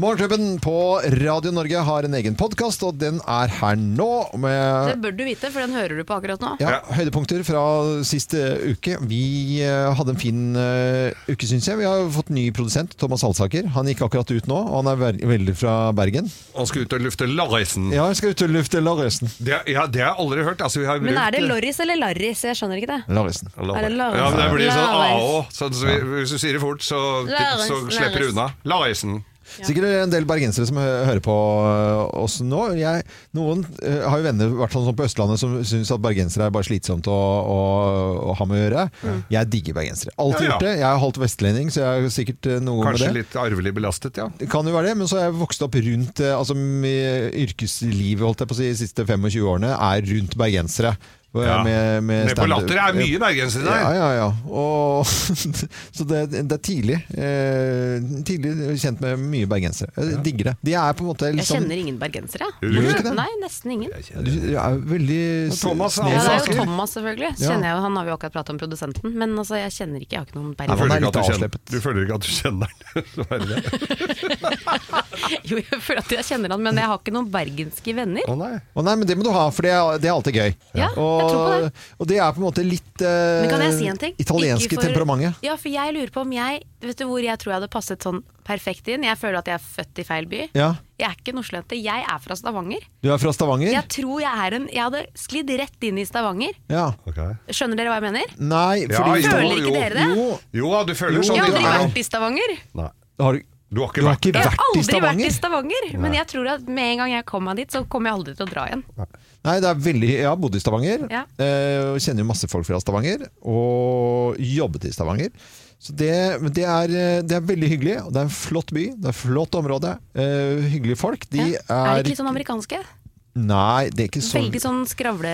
Morgenklubben på Radio Norge har en egen podkast, og den er her nå. Det Med bør du vite, for den hører du på akkurat nå. ja, høydepunkter fra sist eh, uke. Vi eh, hadde en fin eh, uke, syns jeg. Vi har fått ny produsent, Thomas Halsaker. Han gikk akkurat ut nå, og han er ver- veldig fra Bergen. Han skal ut og lufte Larrisen. Ja, jeg skal ut og lufte Larresen. Det, ja, det har jeg aldri hørt. Altså, vi har Men er det brukt- Lorris eller Larris? Jeg skjønner ikke det. Larresen. Er det Larrisen? Ja, men det blir sånn Larrisen. AÅ. Sånn, så vi, hvis du sier det fort, så, Larrisen, så slipper du unna. Larrisen. Sikkert er det en del bergensere som hø- hører på øh, oss nå. Jeg, noen øh, har jo venner hvert fall sånn på Østlandet som syns at bergensere er bare slitsomt å, å, å ha med å gjøre. Jeg digger bergensere. Alltid Ja, ja. gjort det. Jeg er halvt vestlending, så jeg er sikkert øh, noe med det. Kanskje litt arvelig belastet, ja. Det kan jo være det, men så har jeg vokst opp rundt eh, altså, m- Yrkeslivet holdt jeg på å si, de siste 25 årene er rundt bergensere. Hvor jeg Ja. er Med, med Ned på stand-up. latter er mye bergensere der. Ja, ja, ja. Og, så det, det er tidlig. Eh, tidlig kjent med mye bergensere. Jeg digger det. De er på en måte litt Jeg sånn kjenner ingen bergensere. jeg. Gjør du ikke det? Nei, nesten ingen. Du er veldig s- Thomas er Ja, snill. det er Saker. jo Thomas, selvfølgelig. Så Ja. kjenner jeg, jo- han har vi jo akkurat pratet om produsenten. Men altså, jeg kjenner ikke, jeg har ikke noen Du Nei, bergensere. men- føler, han er ikke at du, litt kjenner, avsleppet. du føler ikke at du kjenner den? Så er det det. Jo, jeg føler at jeg kjenner han, men jeg har ikke noen bergenske venner. Å nei. Å nei, men det må du ha, for det er, det er alltid gøy. Ja, jeg og, tror på det. og det er på en måte litt eh, Men kan jeg si en ting? italienske Ikke for- temperamentet. Ja, for jeg lurer på om jeg Vet du hvor jeg tror jeg hadde passet sånn perfekt inn? Jeg føler at jeg er født i feil by. Ja. Jeg er ikke en Oslo-jente, jeg er fra Stavanger. Du er fra Stavanger? Jeg tror jeg er en Jeg hadde sklidd rett inn i Stavanger. Ja. Ok. Skjønner dere hva jeg mener? Nei, Ja, fordi jo, Føler ikke jo. dere det? Jo, Jo da, du føler sånn. Jeg har litt aldri mellom- vært i Stavanger. Nei. har du Du har ikke Du har vært ikke Jeg har vært i aldri vært i Stavanger? Stavanger, men jeg tror at med en gang jeg kommer meg dit, så kommer jeg aldri til å dra igjen. Nei, det er veldig, jeg har bodd i Stavanger. Ja. eh, og kjenner jo masse folk fra Stavanger. Og jobbet i Stavanger. Så det, men det, er, eh, det er veldig hyggelig. og Det er en flott by. Det er et flott område. eh, hyggelige folk. De ja. er, er det ikke litt sånn amerikanske? Nei, det er ikke sånn Veldig sånn skravle,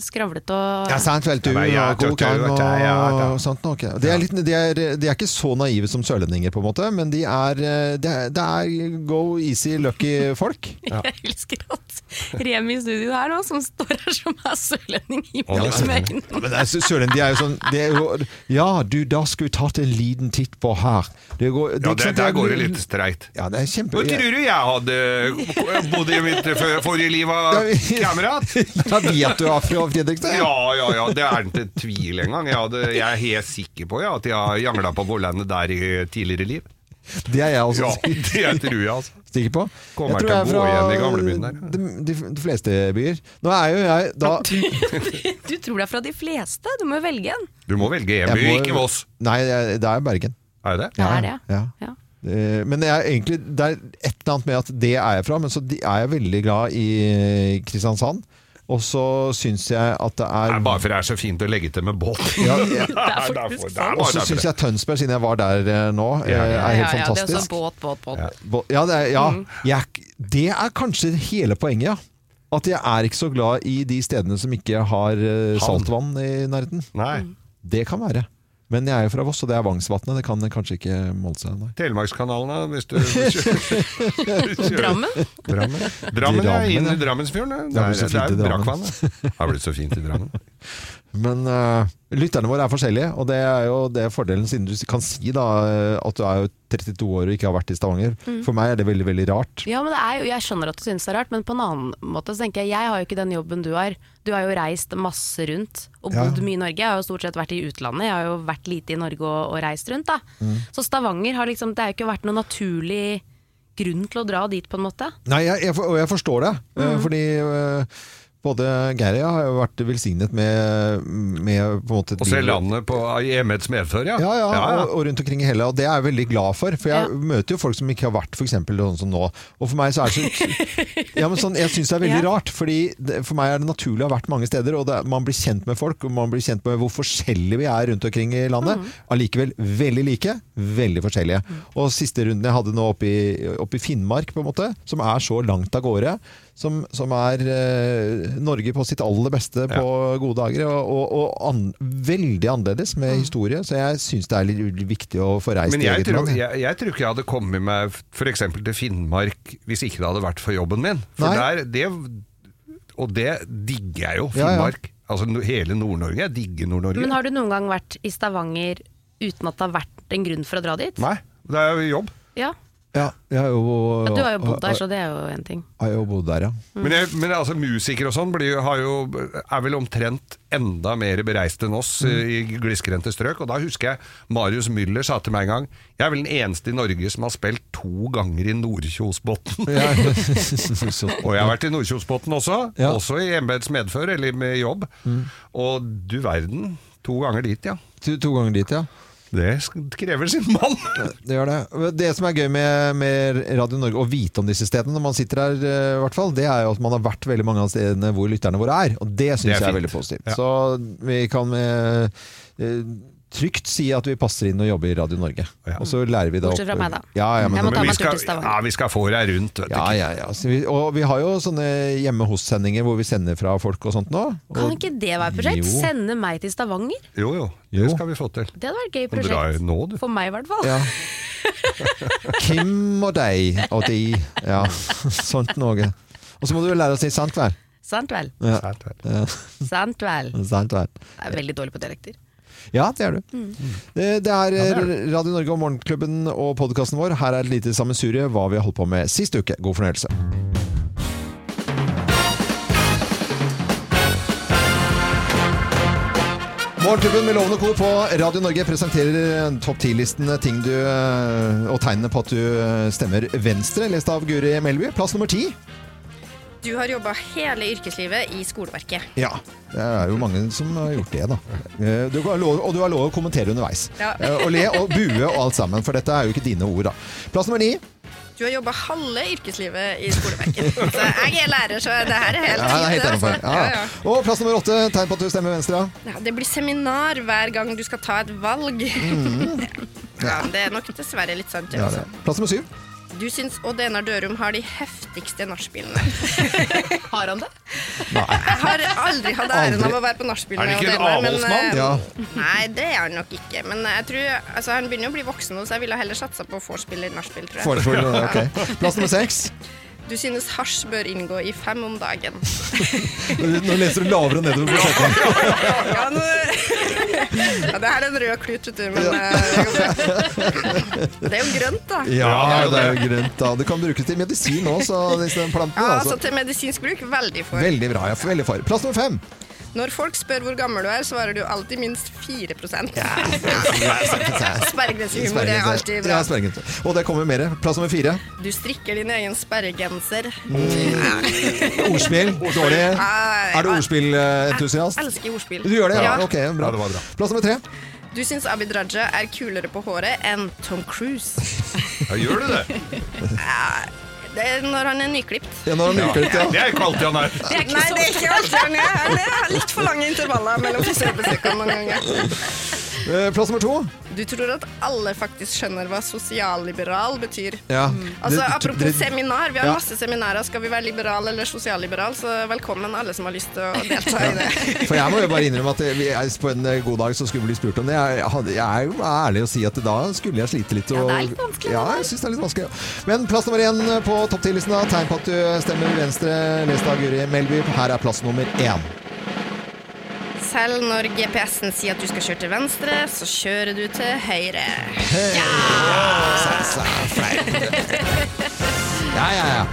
skravlete og ja, sant, vel, du, Ja, men jeg og tror god ikke gang det og er- ja, ja. sånt nok. ja. De er, litt, de, er, de er ikke så naive som sørlendinger, på en måte, men de er, eh, det er, det er go easy lucky folk. Jeg elsker at Remi i studio her nå, som står her som er sørlending i Å, det er mellom sørlending. øynene. Men altså, Søren, de er jo sånn det er jo, Ja, du, da skal vi tatt en liten titt på her. Det går, Ja, det, ikke sånn det, sant, der er- går det litt streit. Ja, det er kjempe... Hva tror du jeg hadde bodd i mitt for- forrige liv av kamerat? Da vet du er fra Fredrikstad? Ja, ja, ja, det er ikke tvil engang. Jeg, hadde, jeg er helt sikker på ja, at jeg har jangla på Vårlandet der i tidligere liv. Det er jeg også Ja, sikker- det tror jeg, altså. sikker på. Kommer jeg til å tror jeg gå igjen i er fra gamlebyen der. De, de, de fleste byer. Nå er jo jeg da Du tror det er fra de fleste, du må jo velge en. Du må velge en jeg by, må- ikke Voss. Nei, jeg- det er Bergen. Er det det? Det er det, ja. ja. Eh, Men jeg er egentlig, det er et eller annet med at det er jeg fra, men så de- er jeg veldig glad i eh, Kristiansand. Og så syns jeg at Det det er er bare for det er så fint å legge til med båt. ja, ja. Det er derfor- det er Og bare så derfor det. syns jeg Tønsberg, siden jeg var der eh, nå, eh, Ja, ja, er helt ja, ja, det er også fantastisk. båt, båt, båt. Bo- Ja, det er, ja. Jeg, er ikke- det er kanskje hele poenget, ja. At jeg er ikke så glad i de stedene som ikke har eh, saltvann i nærheten. Nei. Det kan være. Men jeg er jo fra Voss, og det er Vangsvatnet. Det kan kanskje ikke måle seg. Nei. Telemarkskanalen, da, hvis du kjører. Drammen? Drammen, Drammen ja, Drammen, inn ja. i Drammensfjorden. Det ja. er blitt Det så er, det fint i er Drammen. brakkvann. Det Det har blitt så fint i Drammen. Men eh, lytterne våre er forskjellige, og det er jo det er fordelen, siden du kan si da, eh, at du er jo 32 år og ikke har vært i Stavanger. For meg er det veldig, veldig rart. Ja, men det er jo, Jeg skjønner at du synes det er rart, men på en annen måte så tenker jeg jeg har jo ikke den jobben du har. Du har jo reist masse rundt og Ja. bodd mye i Norge. Jeg har jo stort sett vært i utlandet, jeg har jo vært lite i Norge og, og reist rundt. da. Mm. Så Stavanger har liksom, det har jo ikke vært noen naturlig grunn til å dra dit, på en måte. Nei, jeg, jeg, for- og jeg forstår det. eh, Fordi eh, både Geir og jeg har jo vært velsignet med, med på en måte et Og se liv- landet på, i emmets medfør, ja. Ja, ja, Og, og rundt omkring i hele, og det er jeg veldig glad for. For jeg Ja. møter jo folk som ikke har vært for eksempel sånn som nå. Og for meg så er det så ja, men sånn, Jeg syns det er veldig Ja. rart, fordi det, for meg er det naturlig å ha vært mange steder. Og det, er- man blir kjent med folk, og man blir kjent med hvor forskjellige vi er rundt omkring i landet. Mm. Allikevel veldig like, veldig forskjellige. Og siste runden jeg hadde nå oppe i, oppe i Finnmark, på en måte, som er så langt av gårde. Som, som er eh, Norge på sitt aller beste på gode dager, og, og, og an, veldig annerledes med Mm. historie. Så jeg syns det er litt viktig å få reist Men i jeg eget tror, land. jeg, jeg tror ikke jeg hadde kommet meg f.eks. til Finnmark hvis ikke det hadde vært for jobben min. For Nei. der, det, og det digger jeg jo, Ja, ja. Finnmark. Altså no- hele Nord-Norge. Jeg digger Nord-Norge. Men har du noen gang vært i Stavanger uten at det har vært en grunn for å dra dit? Nei, det er jo jobb. Ja. Ja, jeg har jo, Ja, du har jo bodd der, så det er jo en ting. Har jo bodd der, ja. Men, jeg, men altså, musikere og sånn blir jo- har jo- er vel omtrent enda mer bereist enn oss Mm. eh, i gliskerendte strøk. Og da husker jeg Marius Müller sa til meg en gang Jeg er vel den eneste i Norge som har spilt to ganger i Nordkjosbotn. ja. så, Og jeg har vært i Nordkjosbotn også, Ja. Mm. også i embets medfør, eller med jobb. Og du verden, to ganger dit, ja. to, to ganger dit, ja. Det sk- krever sin mann! Det gjør det. Det som er gøy med, med Radio Norge, å vite om disse stedene når man sitter her, eh, i hvert fall, det er jo at man har vært veldig mange av stedene hvor lytterne våre er. Og det syns Det er jeg er fint. veldig positivt. Ja. Så vi kan eh, eh, trygt si at vi passer inn og jobber i Radio Norge. Ja. Og så lærer vi da Bortsett fra meg, da. Ja, ja, men, Jeg må ta vi meg en tur skal, til Stavanger. ja, vi skal få deg rundt, vet du. ja, ja, ja. Så vi, og vi har jo sånne hjemme hos-sendinger hvor vi sender fra folk og sånt nå. Kan Og, ikke det være et prosjekt? Jo. Sende meg til Stavanger? Jo, jo, Jo. det skal vi få til. Det hadde vært et gøy Du drar jo prosjekt. nå, du. For meg i hvert fall. ja. Kim og deg og de. Ja, sånt noe. Og så må du jo lære å si sant hver. Sant vel? Ja. Sant vel. Sant vel. Sant hver. Jeg er veldig dårlig på dialekter. Ja, det er du. Det, det Ja, er det er eh, Radio Norge og Morgenklubben og podkasten vår. Her er et lite sammensurie hva vi har holdt på med sist uke. God fornøyelse. Morgenklubben med Lovende Co. på Radio Norge presenterer eh, topp 10-listen ting du eh, og tegnene på at du eh, stemmer venstre, lest av Guri Melby. Plass nummer ti. Du har jobba hele yrkeslivet i skoleverket. Ja. Det er jo mange som har gjort det, da. Eh, Du har lov, og du har lov å kommentere underveis. Ja. Eh, Og le og bue og alt sammen, for dette er jo ikke dine ord, da. Plass nummer ni. Du har jobba halve yrkeslivet i skoleverket. Så jeg er lærer, så det her er helt Ja, det er fint, helt altså. innenfor. Ja. Ja, ja. Og plass nummer åtte. Tegn på at du stemmer venstre. Ja, det blir seminar hver gang du skal ta et valg. Ja, det er nok dessverre litt sant. det Ja, også. det. Plass nummer syv. Du syns Odd Enar Dørum har de heftigste nachspielene. Har han det? Jeg har aldri hatt æren Aldri. av å være på nachspiel Er det med ikke Odd en Enar. men, avholdsmann? eh, Ja. Nei, det er han nok ikke. Men jeg tror, altså, han begynner jo å bli voksen, nå, så jeg ville heller satsa på vorspiel enn nachspiel, tror jeg. Foreslår du Ok. Plass nummer seks. Du synes hasj bør inngå i fem om dagen. Nå leser du lavere og nedover på setningen. Ja, nå, ja, det her er en rød klut, vet du, men eh, det er jo grønt, da. Ja, det er jo grønt, da. Det kan brukes til medisin òg, så disse plantene. Ja, altså Altså. Til medisinsk bruk veldig for. Veldig bra. Jeg er veldig for. Plass nummer fem. Når folk spør hvor gammel du er, svarer du alltid minst 4 Sperregrensehumor er alltid Ja, bra. sperregrense. Og det kommer mer. Plass nummer fire. Du strikker din egen sperregenser. Ordspill. Dårlig. Nei. Er du ordspillentusiast? Jeg elsker ordspill. Du gjør det? Ja, Ja. ok, bra. Ja, det var bra. Plass nummer tre. Du syns Abid Raja er kulere på håret enn Tom Cruise. Ja, gjør du det? Det er når han er nyklipt. Ja, nå har han luket litt, Det ja. er ikke alltid han er. Nei, det er ikke alltid han er. Han er- har litt for lange intervaller mellom frisørbesøkene mange ganger. Eh, Plass nummer to. Du tror at alle faktisk skjønner hva sosialliberal betyr. Ja. Altså, Dere- apropos dere- seminar, vi har Ja. masse seminarer. Skal vi være liberal eller sosialliberal, så velkommen alle som har lyst til å delta i det. For jeg må jo bare innrømme at vi er på en eh, god dag så skulle vi bli spurt om det. Jeg, hadde- jeg er jo ærlig å si at da skulle jeg slite litt. Ja, Og, det er litt vanskelig, Ja, det der. jeg synes det er litt vanskelig. Men plass nummer én på topp 10-listen da. Tegn på at du stemmer venstre. Lest av Guri Melby. Her er plass nummer én. Selv når GPS-en sier at du skal kjøre til venstre, så kjører du til høyre. Så er jeg flau. Ja, ja, ja.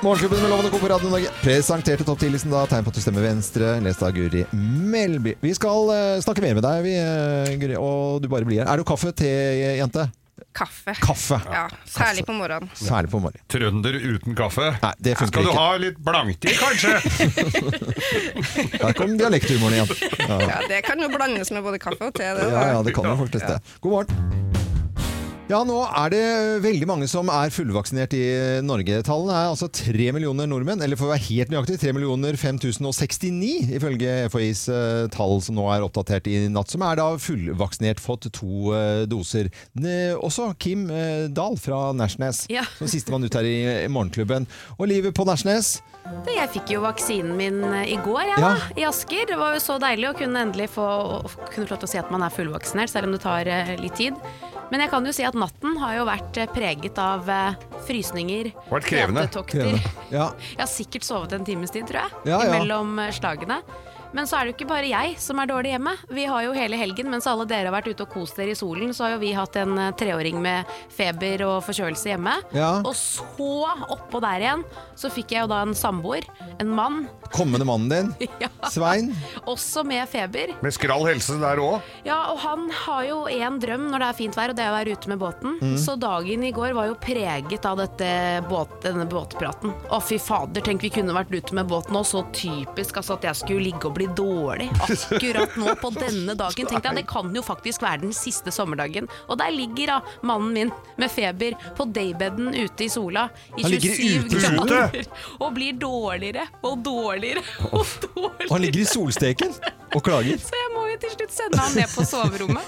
Morgenklubben med lovende ko på Radio Norge presenterte topp 10-listen da. Tegn på at du stemmer venstre. Lest av Guri Melby. Vi skal eh, snakke mer med deg, vi, eh, Guri, og du bare blir her. Er du kaffe, te, jente? Kaffe. Kaffe. Ja, særlig på morgenen. Særlig på morgenen. Trønder uten kaffe. Nei, det funker Skal du ikke. ha litt blankti, kanskje? Der kom dialekthumoren igjen. Ja, det kan jo blandes med både kaffe og te. Det, Ja, da. ja, det kan jo faktisk det. God morgen. Ja, nå er det veldig mange som er fullvaksinert i Norge. Tallene er altså 3 millioner nordmenn, eller for å være helt nøyaktig 3 millioner 5069, ifølge FHIs eh, tall som nå er oppdatert i natt, som er da fullvaksinert, fått to eh, doser. Ne- Også Kim eh, Dahl fra Nashnes, Ja. som sistemann ut her i i Morgenklubben. Og livet på Nashnes? Du, Jeg fikk jo vaksinen min eh, i går, jeg, da, Ja. i Asker. Det var jo så deilig å kunne endelig få å kunne få lov til å si at man er fullvaksinert, selv om det tar eh, litt tid. Men jeg kan jo si at natten har jo vært eh, preget av eh, frysninger, Vært krevende. hetetokter. Ja. Jeg har sikkert sovet en times tid, tror jeg, Ja, ja. mellom slagene. Men så er det jo ikke bare jeg som er dårlig hjemme. Vi har jo hele helgen, mens alle dere har vært ute og kost dere i solen, så har jo vi hatt en eh, treåring med feber og forkjølelse hjemme. Ja. Og så, oppå der igjen, så fikk jeg jo da en samboer, en mann, Kommende mannen din, ja, Svein. også med feber. Med skral helse der òg. Ja, og han har jo en drøm når det er fint vær, og det er å være ute med båten. Mm. Så dagen i går var jo preget av dette båt, denne båtpraten. Å, fy fader, tenk vi kunne vært ute med båten nå, så typisk altså at jeg skulle ligge og bli dårlig akkurat nå på denne dagen. Tenkte jeg, det kan jo faktisk være den siste sommerdagen. Og der ligger da mannen min med feber på daybeden ute i sola i Han ligger 27 ute i sola? grader og blir dårligere og dårligere og dårligere. Og han ligger i solsteken og klager. Så jeg må jo til slutt sende han ned på soverommet.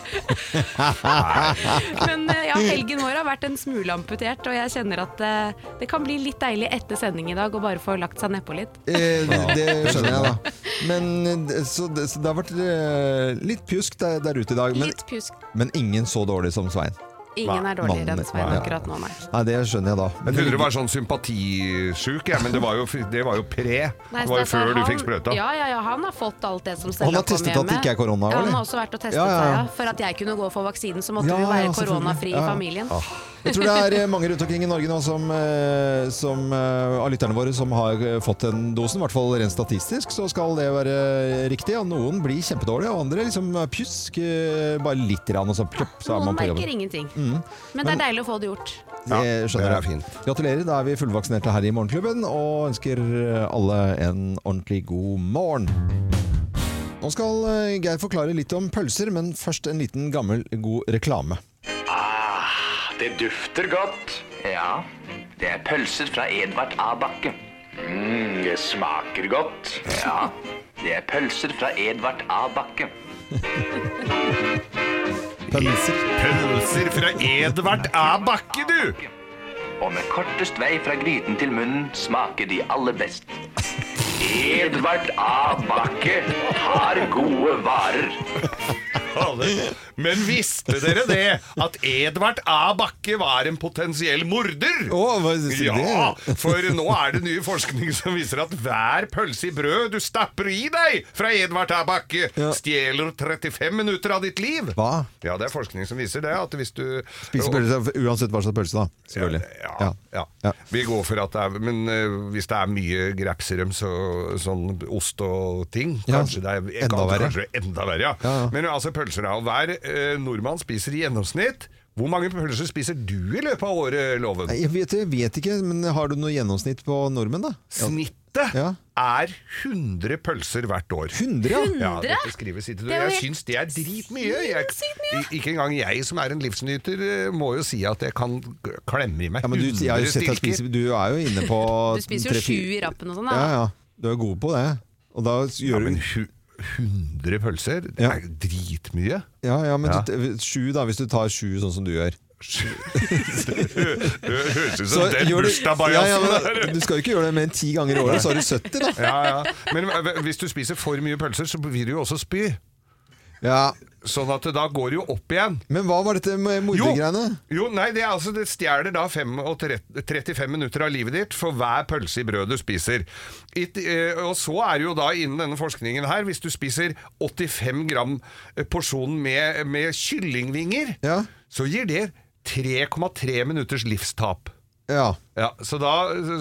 Men eh, ja, helgen vår har vært en smule amputert, og jeg kjenner at eh, det kan bli litt deilig etter sending i dag å bare få lagt seg nedpå litt. Eh, det skjønner jeg, da. Men, eh, så, det, så det har vært eh, litt pjusk der, der ute i dag. Men, Litt pjusk. men ingen så dårlig som Svein. Ingen er dårligere enn Mannen- Svein ja. akkurat nå, nei. Nei, det skjønner jeg da. Jeg trodde det var sånn sympatisjuk, jeg, men det var jo, det var jo pre. Nei, Det var jo så altså, før du han- fikk sprøyta. Ja, ja, ja, han har fått alt det som Stella Han har kom testet hjem at det med. ikke er korona, Ja, han eller? har også vært og testet Ja, ja, ja. seg, ja. For at jeg kunne gå og få vaksinen, så måtte Ja, vi være ja, selvfølgelig. koronafri Ja, i ja. familien. Jeg tror det er eh, mange rundt omkring i Norge nå som, eh, som, eh, av lytterne våre som har eh, fått den dosen. I hvert fall rent statistisk så skal det være eh, riktig. Og noen blir kjempedårlige, og andre liksom eh, pjusk. eh, Bare litt rann, og så, plopp, så er Noen man på merker jobben. Mm. ingenting. Men det er deilig å få det gjort. Ja, Jeg det skjønner er fint. Gratulerer, da er vi fullvaksinerte her i Morgenklubben, og ønsker alle en ordentlig god morgen. Nå skal eh, Geir forklare litt om pølser, men først en liten gammel god reklame. Ah, Det dufter godt. Ja, det er pølser fra Edvard A. Bakke. Mm, det smaker godt. Ja, det er pølser fra Edvard A. Bakke. Pølser. Pølser fra Edvard A. Bakke, du! Og med kortest vei fra gryten til munnen smaker de aller best. Edvard A. Bakke har gode varer. Men visste dere det? At Edvard A. Bakke var en potensiell morder? Å, hva sier Ja, det? for nå er det ny forskning som viser at hver pølse i brød du stapper i deg fra Edvard A. Bakke, Ja. stjeler 35 minutter av ditt liv. Hva? Ja, det er forskning som viser det. At hvis du Spiser pølse, uansett hva slags pølse, da. Selvfølgelig. Ja, ja, ja. Ja. Vi går for at det er Men eh, hvis det er mye graps i dem, så, sånn ost og ting, Ja, kanskje det er enda verre. Kanskje det er enda verre ja. Ja, ja. Men altså pølser, da. Og hver eh, nordmann spiser i gjennomsnitt Hvor mange pølser spiser du i løpet av året, Loven? Nei, Jeg vet, jeg vet ikke, men har du noe gjennomsnitt på nordmenn, da? Snittet Ja. er 100 pølser hvert år. 100, ja. Ja, 100? dette skrives ikke. Det er jo Jeg helt syns det er dritmye. Jeg- sinnssykt mye. i- Ikke engang jeg som er en livsnyter, eh, må jo si at jeg kan g- klemme i meg ja men du, jeg har 100 jo sett deg stilker. spise Du er jo inne på Du spiser jo tre- sju fire- i rappen og sånn, Ja, da. ja. Du er god på det. Og da Ja, gjør men du hu- 100 pølser, det Ja. er jo dritmye. Ja, ja, men Ja. du- sju, da, hvis du tar sju sånn som du gjør. Det høres ut som Så den gjør du- ja, ja, bursdagsbajasen der. men, Du skal jo ikke gjøre det mer enn ti ganger i året, så har du 70, da. Ja, ja. Men eh, hvis du spiser for mye pølser, så vil du jo også spy. Ja. Sånn at det da går det jo opp igjen. Men hva var dette med Jo, mordergreiene? jo nei, det, er altså, det stjeler da fem og tre- 35 minutter av livet ditt for hver pølse i brød du spiser. I, t- eh, og så er det jo da innen denne forskningen her, hvis du spiser 85 gram eh, porsjon med, med kyllingvinger, Ja. så gir det 3,3 minutters livstap. Ja. Ja, så da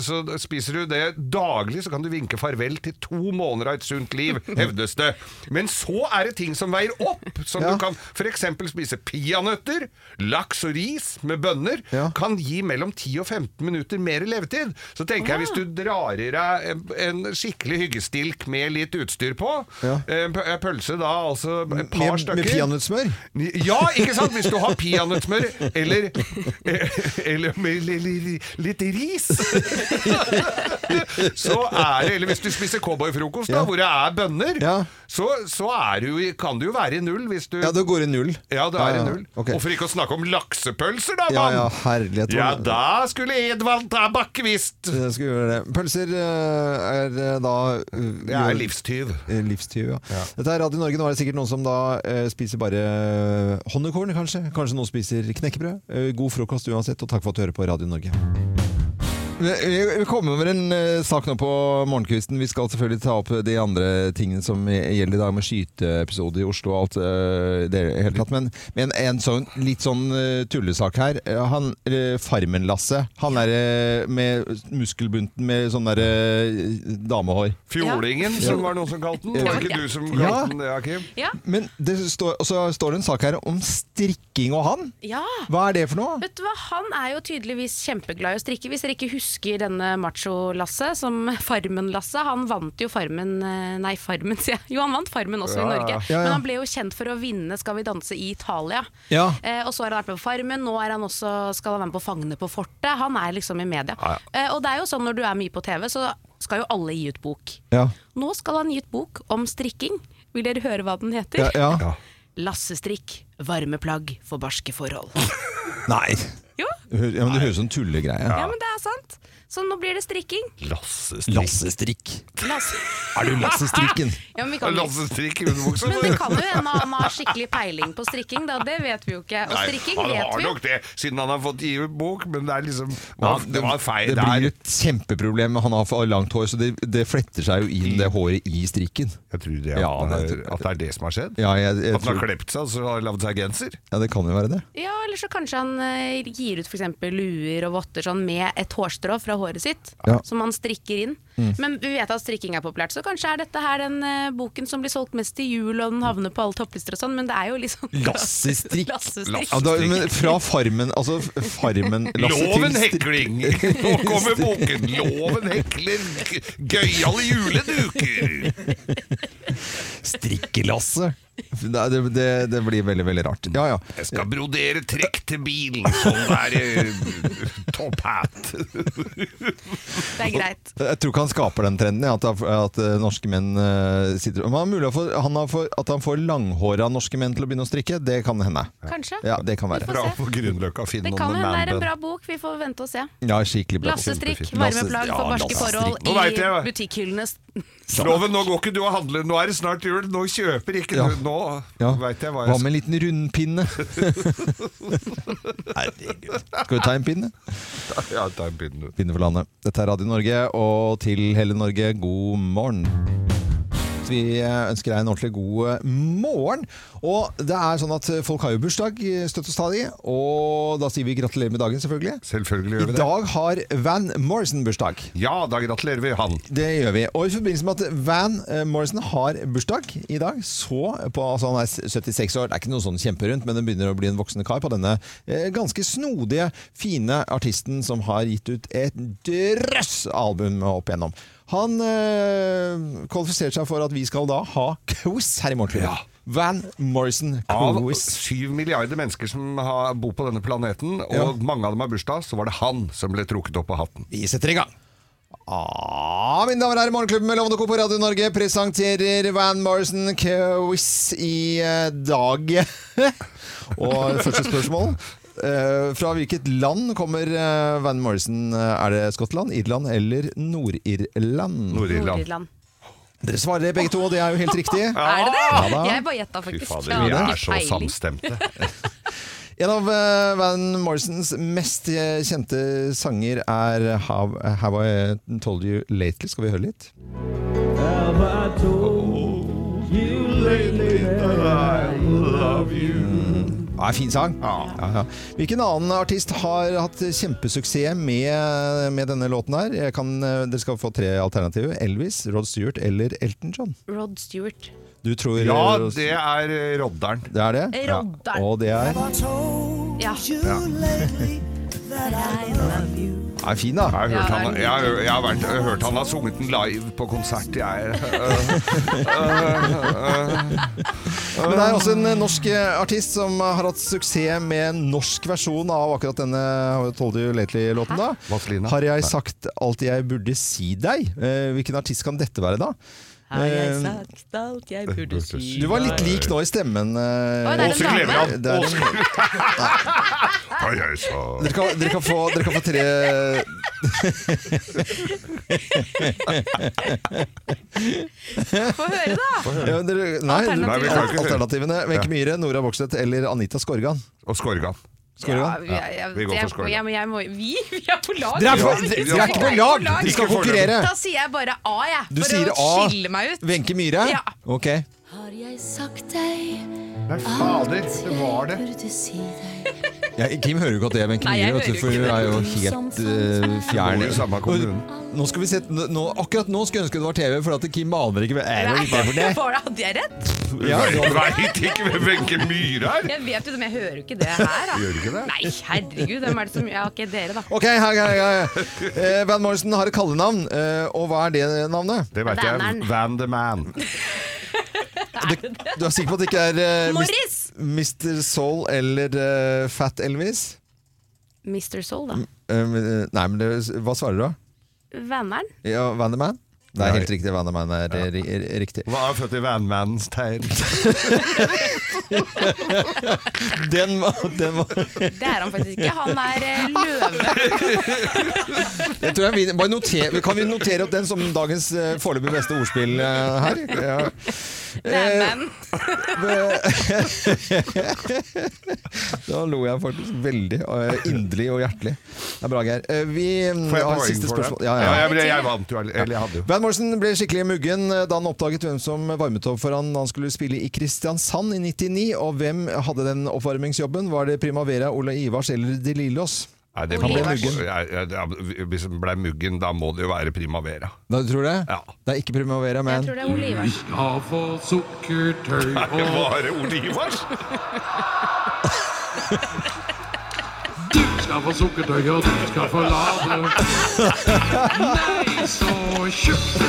så spiser du det daglig, så kan du vinke farvel til to måneder av et sunt liv, hevdes det. Men så er det ting som veier opp, som Ja. du kan f.eks. spise peanøtter, laks og ris med bønner, Ja. kan gi mellom 10 og 15 minutter mer levetid. Så tenker jeg hvis du drar i deg en, en skikkelig hyggestilk med litt utstyr på, eh, Ja. en p- en pølse da altså et par Med, stykker med peanøttsmør? ja, ikke sant? Hvis du har peanøttsmør eller, eller med li- li- li- litt ris Så er det Eller hvis du spiser cowboyfrokost, da, Ja. hvor det er bønner, Ja. så, så er du, i- kan du jo være i null hvis du Ja, det går i null. Ja, det er i null. Ok. Og for ikke å snakke om laksepølser, da, Ja, mann! ja, herlighet. Ja, da skulle Edvald ta Bakke visst! Jeg skal gjøre det. Pølser eh, er eh, da Det er livstyv. Eh, Livstyv, ja. Dette er Radio Norge. Nå er det sikkert noen som da eh, spiser bare eh, honningkorn, kanskje. Kanskje noen spiser knekkebrød. Eh, god frokost uansett, og takk for at du hører på Radio Norge. Vi vi kommer over en eh, sak nå på morgenkvisten. Vi skal selvfølgelig ta opp de andre tingene som gjelder i dag, med skyteepisode i Oslo og alt eh, det i hele tatt. Men, men en sånn, litt sånn eh, tullesak her. Eh, Han, eh, Farmen-Lasse, han er eh, med muskelbunten med sånn der eh, damehår. Fjolingen, som var noen som kalte den. Var det ikke du som kalte Ja. den det, Akim? Ja. Men det står, og så står det en sak her om strikking og han. ja. Hva er det for noe? Vet du hva, Han er jo tydeligvis kjempeglad i å strikke. Hvis dere ikke husker denne macho-Lasse, som Farmen-Lasse Han vant jo Farmen eh, Nei, Farmen, sier jeg. Jo, han vant Farmen også Ja, i ja. Norge. Ja, ja. Men han ble jo kjent for å vinne Skal vi danse i Italia. Ja. Eh, og så har han vært med på Farmen, nå er han også, skal han være med på Fangene på fortet. Han er liksom i media. Ja, Eh, og det er jo sånn når du er mye på TV, så skal jo alle gi ut bok. Ja, Nå skal han gi ut bok om strikking. Vil dere høre hva den heter? ja, ja. Ja. Lassestrikk. Varme plagg for barske forhold. Nei. Jo, Hø- Ja, men det høres ut som en tullegreie. ja, men det er sant. Så nå blir det strikking. Lassestrikk. Lassestrikk. Lasse. Er du Lassestrikken? Ja, men, vi kan jo- Lassestrikk i underbuksa. men det kan jo hende han har skikkelig peiling på strikking, da. Det vet vi jo ikke. Og Nei, strikking han vet har vi jo. nok det, siden han har fått gi ut bok, men det er liksom Ja, Det var feil det der. blir et kjempeproblem. Han har for langt hår, så det, det fletter seg jo inn det håret i strikken. Jeg tror det, Ja, at, det er, det tror- at det er det som har skjedd. Ja, jeg, jeg At han har tror, klept seg og så har lagd seg genser. ja, det kan jo være det. Ja, eller så kanskje han eh, gir ut f.eks. luer og votter sånn med et hårstrå fra håret sitt, Ja. Mm. som han strikker inn. Men vi vet at strikking er populært, så kanskje er dette her den eh, boken som blir solgt mest til jul, og den havner på alle topplister og sånn, men det er jo litt sånn Lassestrikk. Lassestrikk. Ja, da, men fra Farmen, altså f- Farmen Lasse, til Loven stri- hekling! Nå kommer boken! Loven hekler g- gøyale juleduker! Strikkelasse. Det, det, det, det blir veldig, veldig rart. Ja, ja. Jeg skal brodere trekk til bilen som er eh, top hat. Det er greit. Jeg tror ikke han skaper den trenden, ja, at, at eh, norske menn eh, sitter Men han er mulig å få- han har for, At han får langhåra norske menn til å begynne å strikke, det kan hende. Kanskje. Ja, det kan være. får Bra se. på Grünerløkka, finn Det noen kan hende det er man-bun. en bra bok, vi får vente og se. Ja, skikkelig bra. Lassestrikk, Kjempefint. varme Lasse- plagg ja, for barske forhold lassestrikk. Nå vet i jeg. butikkhyllene. Loven, nå går ikke du og handler, nå er det snart jul, nå kjøper ikke Ja. du Nå Ja. veit jeg hva Hva jeg skal med en liten rundpinne? Herregud. Skal vi ta en pinne? ja, da begynner du. Pinne for landet. Dette er Radio Norge, og til hele Norge, god morgen. Vi eh, ønsker deg en ordentlig god eh, morgen. Og det er sånn at folk har jo bursdag eh, støtt og stadig, og da sier vi gratulerer med dagen, selvfølgelig. Selvfølgelig gjør I vi det. dag har Van Morrison bursdag. Ja, da gratulerer vi han. Det gjør vi. Og i forbindelse med at Van eh, Morrison har bursdag i dag, så på, altså Han er 76 år, det er ikke noe sånn kjemperundt, men det begynner å bli en voksende kar på denne eh, ganske snodige, fine artisten som har gitt ut et drøss album opp igjennom. Han eh, kvalifiserte seg for at vi skal da ha quiz her i morgen. Ja. Van Morrison Av quiz. syv milliarder mennesker som har, bor på denne planeten, og Ja. mange av dem har bursdag, så var det han som ble trukket opp av hatten. Vi setter i gang. Ah, mine damer og herrer, Morgenklubben med Lovende Co på Radio Norge presenterer Van Morrison quiz i eh, dag. og første spørsmål. eh, fra hvilket land kommer eh, Van Morrison? Eh, Er det Skottland, Irland eller Nord-Irland? Nord-Irland. Nord-Irland. Dere svarer begge to, og det er jo helt riktig. Er det det? da. jeg bare gjetta, Fy faktisk. fader, Jeg vi hadde er ikke så peiling. samstemte. En av eh, Van Morrisons mest eh, kjente sanger er How, How I Told You Lately. Skal vi høre litt? Oh, Ja, en fin sang. Ja, ja. Hvilken annen artist har hatt kjempesuksess med, med denne låten her? Jeg kan, eh, dere skal få tre alternativer. Elvis, Rod Stewart eller Elton John. Rod Stewart. Du tror Ja, Rod- det er eh, Rodderen. det er det? Rodderen. Og det er Ja. er fin, da. Jeg har, hørt Ja, han, det er jeg, har, jeg, har vært, jeg har hørt han har sunget den live på konsert. Jeg, øh, Men det er også en eh, norsk eh, artist som har hatt suksess med en norsk versjon av akkurat denne How I Told You Lately-låten. da. Vaselina? Har jeg sagt alt jeg burde si deg? Eh, Hvilken artist kan dette være, da? Har jeg Eh, sagt alt jeg burde si? Du var litt lik nå i stemmen. eh, Oi, det er en Åse Kleveland. Det er en- Åse- Oi, oi, så- Dere kan, dere, kan få, dere kan få tre Få høre, da! ja, dere, Nei, Alternativene. Nei, vi kan ikke høre. alternativene. Wenche Myhre, Nora Vokset eller Anita Skorgan. Og Skorgan. Skal dere det? Ja, jeg- jeg- vi går for jeg- skål. jeg- jeg må- Vi Vi er på lag! Dere er, for- for, Ja, vi- dere er ikke på lag! De skal konkurrere! Da sier jeg bare A, jeg. Du for sier å A. skille meg ut. Wenche Myhre? Ja. Ok. Har jeg sagt deg Nei, fader, det var det. burde si deg Ja, Kim hører jo ikke at det er Wenche Nei, jeg Myhre, vet du, hører for ikke hun det. er jo helt uh, Bor fjern. i samme kommune. Nå skal vi se, nå, akkurat nå skulle jeg ønske det var TV, for at Kim aner ikke hva- er det litt for det. Var det- Hadde jeg rett? Ja, Du veit ikke hvem Wenche Myhre er? Jeg vet jo det, men jeg hører jo ikke det her. Da. Gjør du ikke det? Nei, herregud. Hvem er det som Ja, ok, dere, da. Ok, hei, hei, hei. Eh, Van Morrison har et kallenavn, eh, og hva er det navnet? Det veit jeg. Vanneren. Van the Man. Det, du er sikker på at det ikke er eh, Morris! Mr. Soul eller eh, Fat Elvis? Mr. Soul, da. Eh, men, eh, nei, men det, hva svarer du da? Venneren. Ja, Van the Man? Det Nei. er helt riktig, Van the Man er eh, ri- er riktig. Hva er født i Vanmannens tegn? Den var, den var. Det er han faktisk ikke. Han er eh, løve. Jeg tror jeg vinner. Bare noter, kan vi notere opp den som dagens eh, foreløpig beste ordspill eh, her? Ja. Eh, Venneren. Da lo jeg faktisk veldig eh, inderlig og hjertelig. Det er bra, Geir. Eh, Vi Får jeg har poeng siste for det? spørsmål. Ja, ja, ja. jeg, ble- jeg vant jo, eller jeg hadde jo. Van Morrison ble skikkelig muggen eh, da han oppdaget hvem som varmet opp for han da han skulle spille i Kristiansand i 99. Og hvem hadde den oppvarmingsjobben? Var det Primavera, Ola Ivars eller De Lillos? Nei, det Ble må- muggen. Jeg- jeg- jeg- Hvis det ble muggen, da må det jo være Primavera. Da, tror du det? Ja. Det er ikke Primavera, Jeg men tror det er Ole Ivars. Avfall, sukker, tøy Det og var Ole Ivars! Du skal få sukkertøy, og du skal få lade. Nei, så tjukt!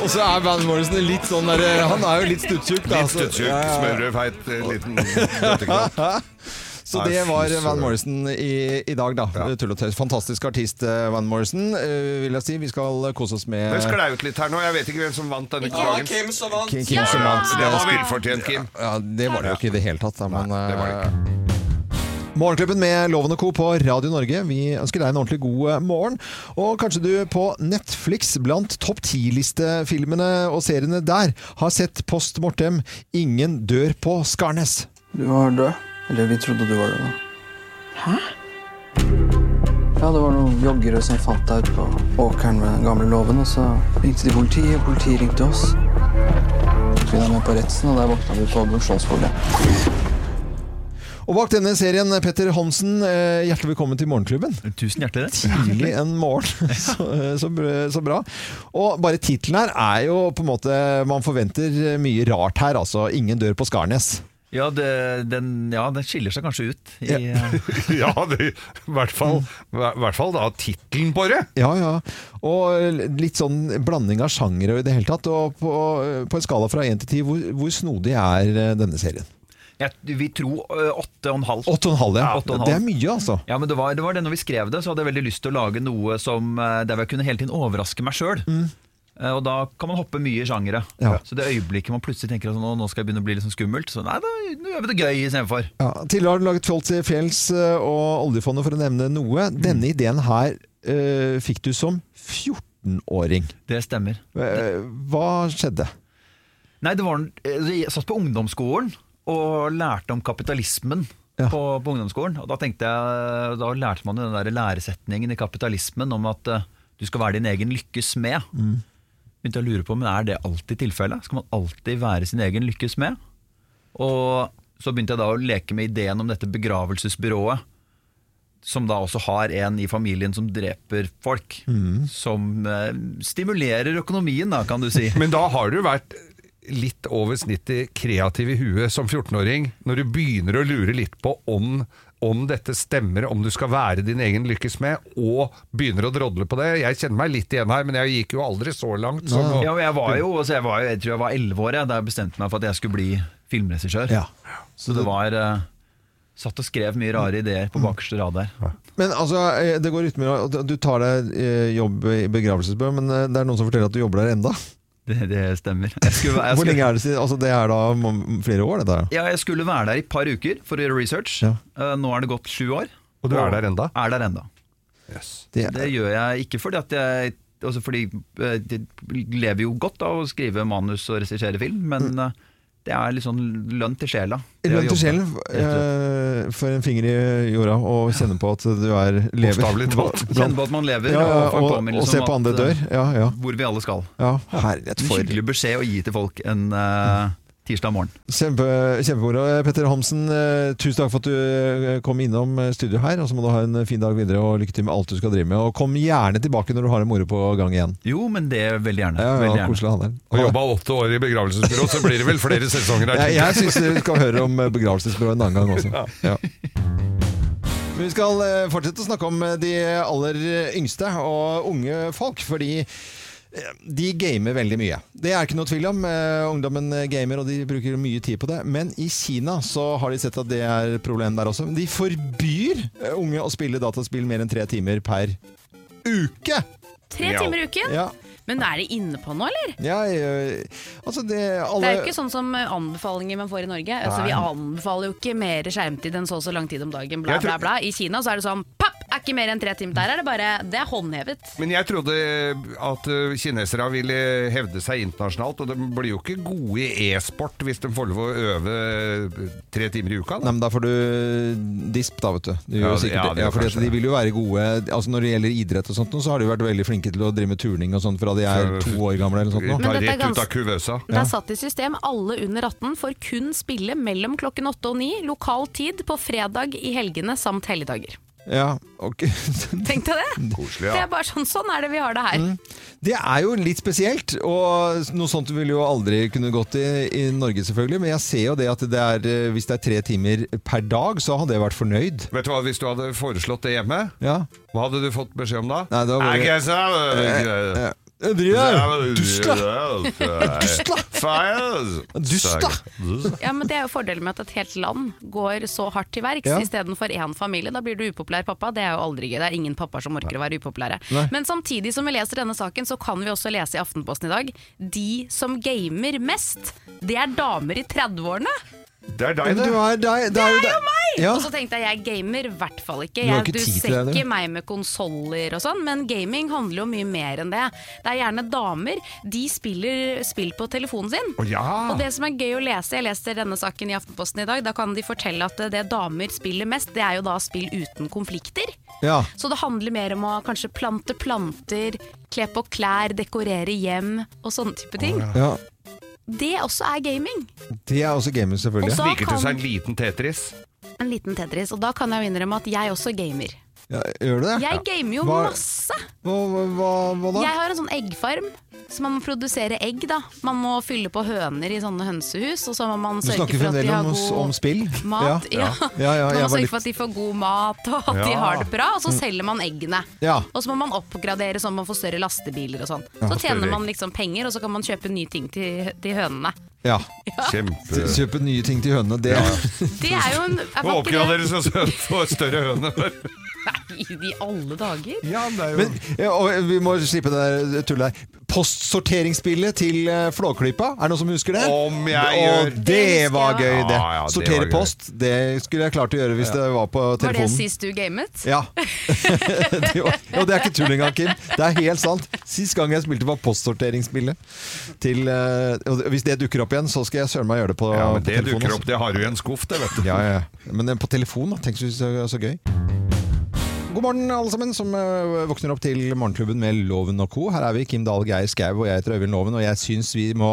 Og så er Van Morrison litt sånn der eh, Han er jo litt stuttjukk, da. Litt så- stuttjukk, Ja, ja, ja. smørfeit eh, liten bøtteknapp. Så Nei, det fy var søren. Van Morrison i, i dag, da. Ja. Tull og tøys. Fantastisk artist, eh, Van Morrison. eh, vil jeg si. Vi skal kose oss med Det sklei ut litt her nå. Jeg vet ikke hvem som vant denne dagen. Hvem som vant? Kim, Kim som vant. Det var velfortjent, Kim. Ja, det var det jo ikke i det hele tatt. Da, men, Nei, det var det eh, Morgenklubben med Loven og Co. på Radio Norge. Vi ønsker deg en ordentlig god eh, morgen. Og kanskje du på Netflix, blant topp ti-listefilmene og seriene der, har sett Post Mortem 'Ingen dør på Skarnes'. Du var død. Eller vi trodde du var død, da. Hæ? Ja, det var noen joggere som fant deg ut på åkeren med den gamle låven, og så ringte de politiet, og politiet ringte oss. Så vi var med på rettsen, og der våkna vi på adopsjonsbordet. Og bak denne serien, Petter Hansen, eh, hjertelig velkommen til Morgenklubben. Tusen hjertelig. Tidlig en morgen. Så, eh, så, br- så bra. Og bare tittelen her er jo på en måte Man forventer mye rart her, altså. Ingen dør på Skarnes. Ja, det, den, ja, den skiller seg kanskje ut. I, eh. Ja, det, i hvert fall, i hvert fall da tittelen på det. Ja, ja. Og litt sånn blanding av sjangere og i det hele tatt. Og på, på en skala fra én til ti, hvor, hvor snodig er eh, denne serien? jeg vil tro eh, åtte og en halv. Åtte og en halv, ja. Ja, åtte og en halv. Det er mye, altså. Ja, men det var, det var det når vi skrev det, så hadde jeg veldig lyst til å lage noe som, eh, der hvor jeg kunne hele tiden overraske meg sjøl. Mm. Og da kan man hoppe mye i sjangere. Ja. Så det øyeblikket man plutselig tenker at nå nå skal jeg begynne å bli litt sånn skummelt, så nei, da nå gjør vi det gøy istedenfor. Ja, tidligere har du laget Fjoll til fjells eh, og Oljefondet, for å nevne noe. Mm. Denne ideen her eh, fikk du som 14-åring. Det stemmer. Eh, hva skjedde? Nei, det var, en- eh, jeg satt på ungdomsskolen og lærte om kapitalismen. Ja. På, på ungdomsskolen Og da tenkte jeg Da lærte man jo den der læresetningen i kapitalismen om at eh, du skal være din egen lykkes smed. Mm. Begynte jeg å lure på Men er det alltid tilfellet? Skal man alltid være sin egen lykkes smed? Og så begynte jeg da å leke med ideen om dette begravelsesbyrået, som da også har en i familien som dreper folk. Som eh, stimulerer økonomien, da, kan du si. Men da har du vært litt over snittet kreativ i huet som 14-åring, når du begynner å lure litt på om, om dette stemmer, om du skal være din egen lykkes med, og begynner å drodle på det. Jeg kjenner meg litt igjen her, men jeg gikk jo aldri så langt. Som å, Ja, men jeg var jo, altså jeg, var, jo- jeg tror jeg var 11 år jeg, da jeg bestemte meg for at jeg skulle bli filmregissør. Så det var eh, Satt og skrev mye rare ideer på bakerste rad der. Men altså, eh, det går utenom at du tar deg eh, jobb i begravelsesbø, men eh, det er noen som forteller at du jobber der enda. Det, det stemmer. Jeg skulle, jeg Hvor skulle, lenge er det siden? Altså, det er da m- flere år, det der. ja, jeg skulle være der i et par uker for å gjøre research. Ja. Eh, nå er det gått sju år. og du er der enda? Er der enda. Det, Det gjør jeg ikke fordi at jeg Altså fordi eh, Jeg lever jo godt av å skrive manus og regissere film, men eh, Det er litt sånn lønn til sjela. Det å Mm. Lønn til jobbe. sjelen eh, for en finger i jorda og kjenne på at du er lever. Bokstavelig talt. Blant- Kjenne på at man lever, Ja, og få ja, en og, og, påminnelse se om at, eh, på andre dør. Ja, ja. Hvor vi alle skal. Ja, herlighet En for- hyggelig beskjed å gi til folk en eh, tirsdag morgen. Kjempe, Kjempemoro. Petter Homsen, eh, tusen takk for at du eh, kom innom eh, studio her. Og så må du ha en eh, fin dag videre, og lykke til med alt du skal drive med. Og kom gjerne tilbake når du har en moro på gang igjen. Jo, men det er veldig gjerne. Ja, ja, veldig gjerne. koselig å ha deg. Og jobba åtte år i begravelsesbyrå, så blir det vel flere sesonger her. Jeg, jeg syns dere skal høre om eh, begravelsesbyrået en annen gang også. Ja. Vi skal eh, fortsette å snakke om eh, de aller yngste og unge folk, fordi eh, de gamer veldig mye. Det er ikke noe tvil om. Eh, Ungdommen eh, gamer, og de bruker mye tid på det. Men i Kina så har de sett at det er problemet der også. De forbyr eh, unge å spille dataspill mer enn tre timer per uke! Tre timer i uken? Ja. Men er det inne på nå, eller? Ja, eh, altså det, alle, Det er jo ikke sånn som eh, anbefalinger man får i Norge. Altså, Nei. vi anbefaler jo ikke mer skjermtid enn så og så lang tid om dagen, bla, Jeg bla, tror- bla. I Kina så er det sånn papp, er ikke mer enn tre timer. Der er det bare Det er håndhevet. Men jeg trodde at ø, kinesere ville hevde seg internasjonalt, og de blir jo ikke gode i e-sport hvis de får lov å øve ø, tre timer i uka. Nei, men da får du disp, da, vet du. du Ja, ja, det- sikkert, ja, ja, det gjør fordi kanskje at de det. vil jo være gode altså Når det gjelder idrett og sånt, nå, så har de vært veldig flinke til å drive med turning og sånt fra de er Så- to år gamle eller sånt. nå. Ta Men dette er rett ut av gans- kuvøsa. Det er satt i system. Alle under 18 får kun spille mellom klokken 8 og 9 lokal tid på fredag i helgene samt helligdager. Ja, ok. Tenk deg det! Koselig, Det er bare sånn, sånn er det vi har det her. Mm. Det er jo litt spesielt, og noe sånt ville jo aldri kunne gått i, i Norge, selvfølgelig. Men jeg ser jo det at det er, eh, hvis det er tre timer per dag, så hadde jeg vært fornøyd. Vet du hva, Hvis du hadde foreslått det hjemme, Ja. hva hadde du fått beskjed om da? Nei, da var det- Jeg kan Eh, eh, se- Øvrige, dustla! Dustla! Feil! Dustla! Ja, men Det er jo fordelen med at et helt land går så hardt til verks Ja. istedenfor én familie. Da blir du upopulær pappa. Det er jo aldri gøy. Det er ingen pappaer som orker å være upopulære. Nei. Men samtidig som vi leser denne saken, så kan vi også lese i Aftenposten i dag de som gamer mest, det er damer i 30-årene. Det er deg, det. er deg, det er jo deg. meg! Ja. Og så tenkte jeg, jeg gamer i hvert fall ikke. Du Jeg, har ikke du tid til ser det, du. ikke meg med konsoller og sånn, men gaming handler jo mye mer enn det. Det er gjerne damer. De spiller spill på telefonen sin. Å ja. Og det som er gøy å lese, jeg leste denne saken i Aftenposten i dag, da kan de fortelle at det damer spiller mest, det er jo da spill uten konflikter. Ja. Så det handler mer om å kanskje plante planter, kle på klær, dekorere hjem og sånne type ting. ja. Det også er gaming. De er også gamere, Og selvfølgelig. så Sniker til kan- seg en liten Tetris? En liten Tetris. Og da kan jeg jo innrømme at jeg også gamer. Ja, gjør du det? Jeg gamer jo Hva- masse. Hva, hva, hva- hva da? Jeg har en sånn eggfarm, så man må produsere egg. da Man må fylle på høner i sånne hønsehus, og så må man Du sørge snakker for at de fremdeles har om, god om spill? mat. Ja. man ja, ja, må jeg var sørge litt for at de får god mat, og at de Ja. har det bra, og så Mm. selger man eggene. Ja. Og så må man oppgradere sånn at man får større lastebiler og sånn. Ja. Så Større tjener man egg. liksom penger, og så kan man kjøpe nye ting til, til hønene. ja. Kjempe Kjøpe nye ting til hønene, det Det er jo en er ikke Og det- oppgradere seg så hun får større høne. Nei, i alle dager. Men, ja, og vi må slippe det der tullet her. Postsorteringsspillet til eh, Flåklypa, er det noen som husker det? Om jeg og gjør- det var gøy, det. Ja, ja, det var Sortere gøy. post, det skulle jeg klart å gjøre hvis Ja. det var på Var det telefonen. sist du gamet? Ja. det var, og det er ikke tull engang, Kim. Det er helt sant. Sist gang jeg spilte var postsorteringsspillet. Til, eh, og hvis det dukker opp igjen, så skal jeg søren meg gjøre det på, Ja, men på Det telefonen. dukker altså. opp, det har du i en skuff, det vet du. Ja, ja. Men eh, på telefon, da. Tenk så, så, så gøy. God morgen, alle sammen, som eh, våkner opp til Morgenklubben med Loven og co. Her er vi, Kim Dahl, Geir Skau og jeg heter Øyvind Loven. Og jeg syns vi må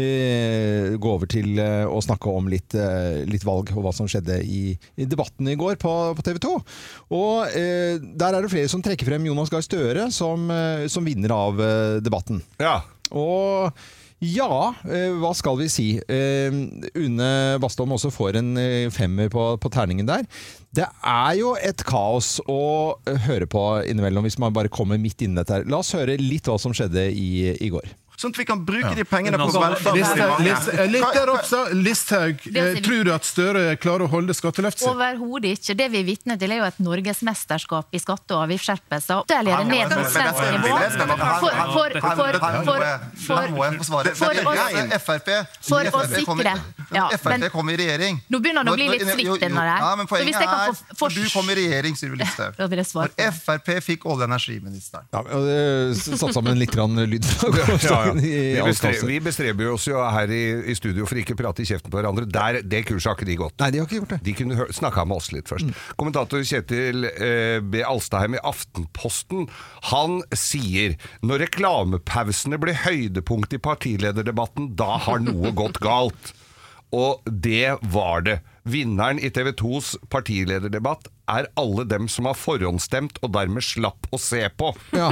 eh, gå over til eh, å snakke om litt, eh, litt valg og hva som skjedde i, i debatten i går på, på TV 2. Og eh, der er det flere som trekker frem Jonas Gahr Støre som, eh, som vinner av eh, debatten. Og ja, eh, hva skal vi si? Eh, Une Bastholm også får en eh, femmer på, på terningen der. Det er jo et kaos å eh, høre på innimellom hvis man bare kommer midt inni dette her. La oss høre litt hva som skjedde i, i går. Sånn at vi kan bruke de pengene på Altså, velferd. Listhaug- eh, Listhaug- Lytter også, Listhaug, Det er eh, så tror du at Støre klarer å holde skatteløftet sitt? Overhodet ikke. Det vi er vitne til, er jo et norgesmesterskap i skatte- og avgiftsskjerpelser. Ytterligere ned mot svensk nivå. For, for, for, for, for, Nå må jeg forsvare. for For oss- Frp for å sikre Ja, Frp men- kom i regjering. Nå begynner det å Når- bli når- litt jo, svikt jo, inni der. Ja, men Så hvis poenget jeg kan er, få- få- når du kom i regjering, Siri Listhaug Da vil jeg svare Når Frp fikk olje- og energiministeren Ja, og, eh, s- Satt sammen litt grann lyd fra Ja, ja. gårsdagen i Vi, bestreber, avkastet. vi bestreber oss jo her i, i studio for ikke å prate i kjeften på hverandre. Der, det kurset har ikke de gått. Nei, De har ikke gjort det. Mm. De kunne hø- snakka med oss litt først. Kommentator Kjetil eh, B. Alstaheim i Aftenposten Han sier når reklamepausene blir høydepunkt i partilederdebatten, da har noe gått galt. Og det var det. Vinneren i TV 2s partilederdebatt er alle dem som har forhåndsstemt og dermed slapp å se på. det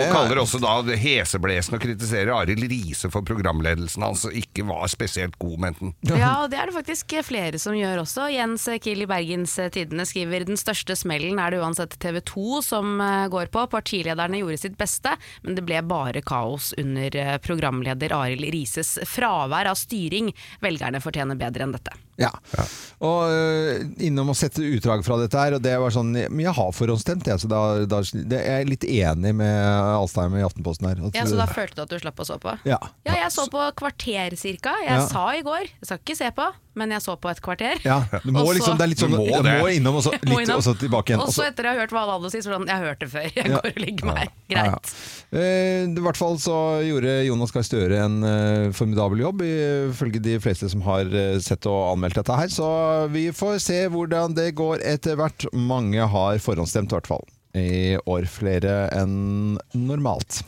Og kaller også da det heseblesende og kritiserer Arild Riise for programledelsen hans, og ikke var spesielt god, mente han. Ja, og det er det faktisk flere som gjør også. Jens Kiel i Bergens Tidende skriver den største smellen er det uansett TV 2 som eh, går på. Partilederne gjorde sitt beste, men det ble bare kaos under eh, programleder Arild Rises fravær av styring. Velgerne fortjener bedre enn dette. Ja. Og øh, innom å sette utdrag fra dette her, og det var sånn Men jeg har forhåndsstemt, jeg, så da, da det, jeg er litt enig med Alstheim i Aftenposten her. At- Ja, Så da følte du at du slapp å så på? Ja. Ja, jeg så på et kvarter cirka. Jeg Ja. sa i går, jeg skal ikke se på, men jeg så på et kvarter. Ja, du må Og så- liksom, det er litt sånn, Du du må må, det. innom og så, Jeg må litt, innom. og så tilbake igjen. Og Altså- så etter jeg har hørt hva alle hadde å si, så sånn, jeg har hørt det før, jeg Ja. går og legger meg. Ja, ja. Greit. Eh, I hvert fall så gjorde Jonas Gahr Støre en eh, formidabel jobb, ifølge de fleste som har eh, sett og anmeldt dette her. Så vi får se hvordan det går etter hvert. Mange har forhåndsstemt, i hvert fall. I år flere enn normalt.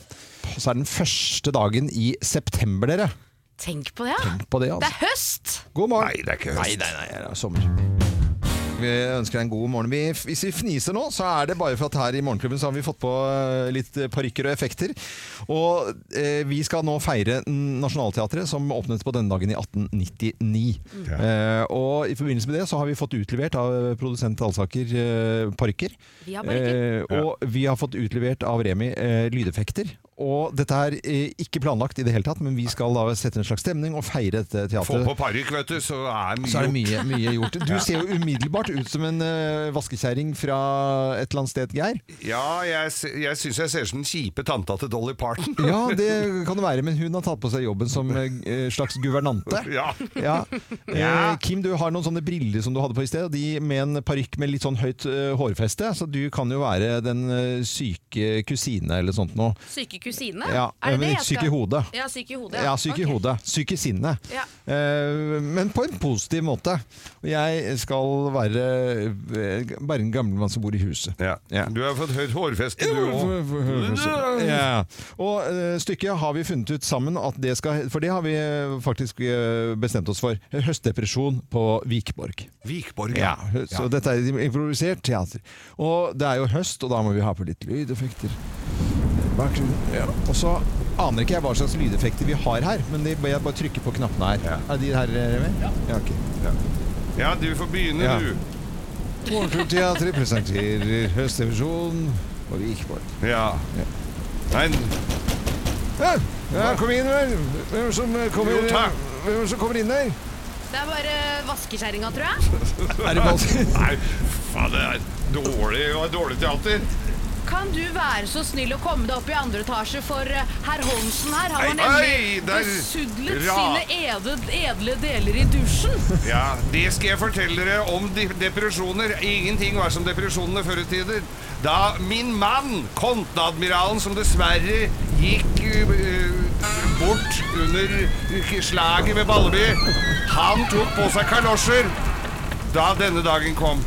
Og så er den første dagen i september, dere. Tenk på det, ja. På det, Det altså. er høst! God morgen. Nei, det er ikke høst. Nei, nei, nei, det er sommer. Vi ønsker deg en god morgen. Vi, hvis vi fniser nå, så er det bare for at her i Morgenklubben så har vi fått på eh, litt parykker og effekter. Og eh, vi skal nå feire Nationaltheatret, som åpnet på denne dagen i 1899. Eh, og i forbindelse med det så har vi fått utlevert av eh, produsent Alsaker eh, parykker. Vi har parykker. Eh, og vi har fått utlevert av Remi eh, lydeffekter. Og dette er eh, ikke planlagt i det hele tatt, men vi skal da sette en slags stemning og feire dette Få teatret. på parykk, vet du, så er mye Så er det mye, gjort. mye gjort. Du Ja. ser jo umiddelbart ut som en uh, vaskekjerring fra et eller annet sted, Geir. Ja, jeg, sy- jeg syns jeg ser ut som den kjipe tanta til Dolly Parton. Ja, det kan det være, men hun har tatt på seg jobben som eh, slags guvernante. Ja. Ja. Eh, Kim, du har noen sånne briller som du hadde på i sted, og de med en parykk med litt sånn høyt eh, hårfeste, så du kan jo være den eh, syke kusine eller sånt noe. Syke kusine? Ja, er det men det ikke jeg syk i skal- hodet. Ja, syk i hodet. Ja, syk i Ok. hodet. Syk i sinnet. Ja. Eh, men på en positiv måte. Og Jeg skal være eh, bare en gammel mann som bor i huset. Du har fått høyt hårfeste, du For- for- for- for- òg. Ja. Og eh, stykket har vi funnet ut sammen at det skal For det har vi eh, faktisk eh, bestemt oss for. Høstdepresjon på Vikborg. Vikborg, Ja, ja. hø- så dette er improvisert teater. Og det er jo høst, og da må vi ha på litt lydeffekter. Bakgrunnen. Ja. Og så aner ikke jeg hva slags lydeffekter vi har her, men de, jeg bare trykker på knappene her. Er de her, eh, Remi? Ja. ok. Ja, du får begynne, Ja. du. Morgenklubbeteatret presenterer Høstdivisjonen på Vikborg. Ja. Nei, Ja, ja, kom inn, vel. Hvem som eh, kommer, Jo, takk. hvem som kommer inn der? Det er bare vaskekjerringa, tror jeg. Er det vanskelig? Nei, faen, det er dårlig, det var dårlig teater. Kan du være så snill å komme deg opp i andre etasje for eh, herr Holmsen her? Han har Nei, nemlig nei, der- besudlet Ra- sine edle, edle deler i dusjen. Ja, det skal jeg fortelle dere om de depresjoner. Ingenting var som depresjonene før i tider. Da min mann, konteadmiralen, som dessverre gikk øh, øh, bort under slaget ved Balleby, han tok på seg kalosjer da denne dagen kom.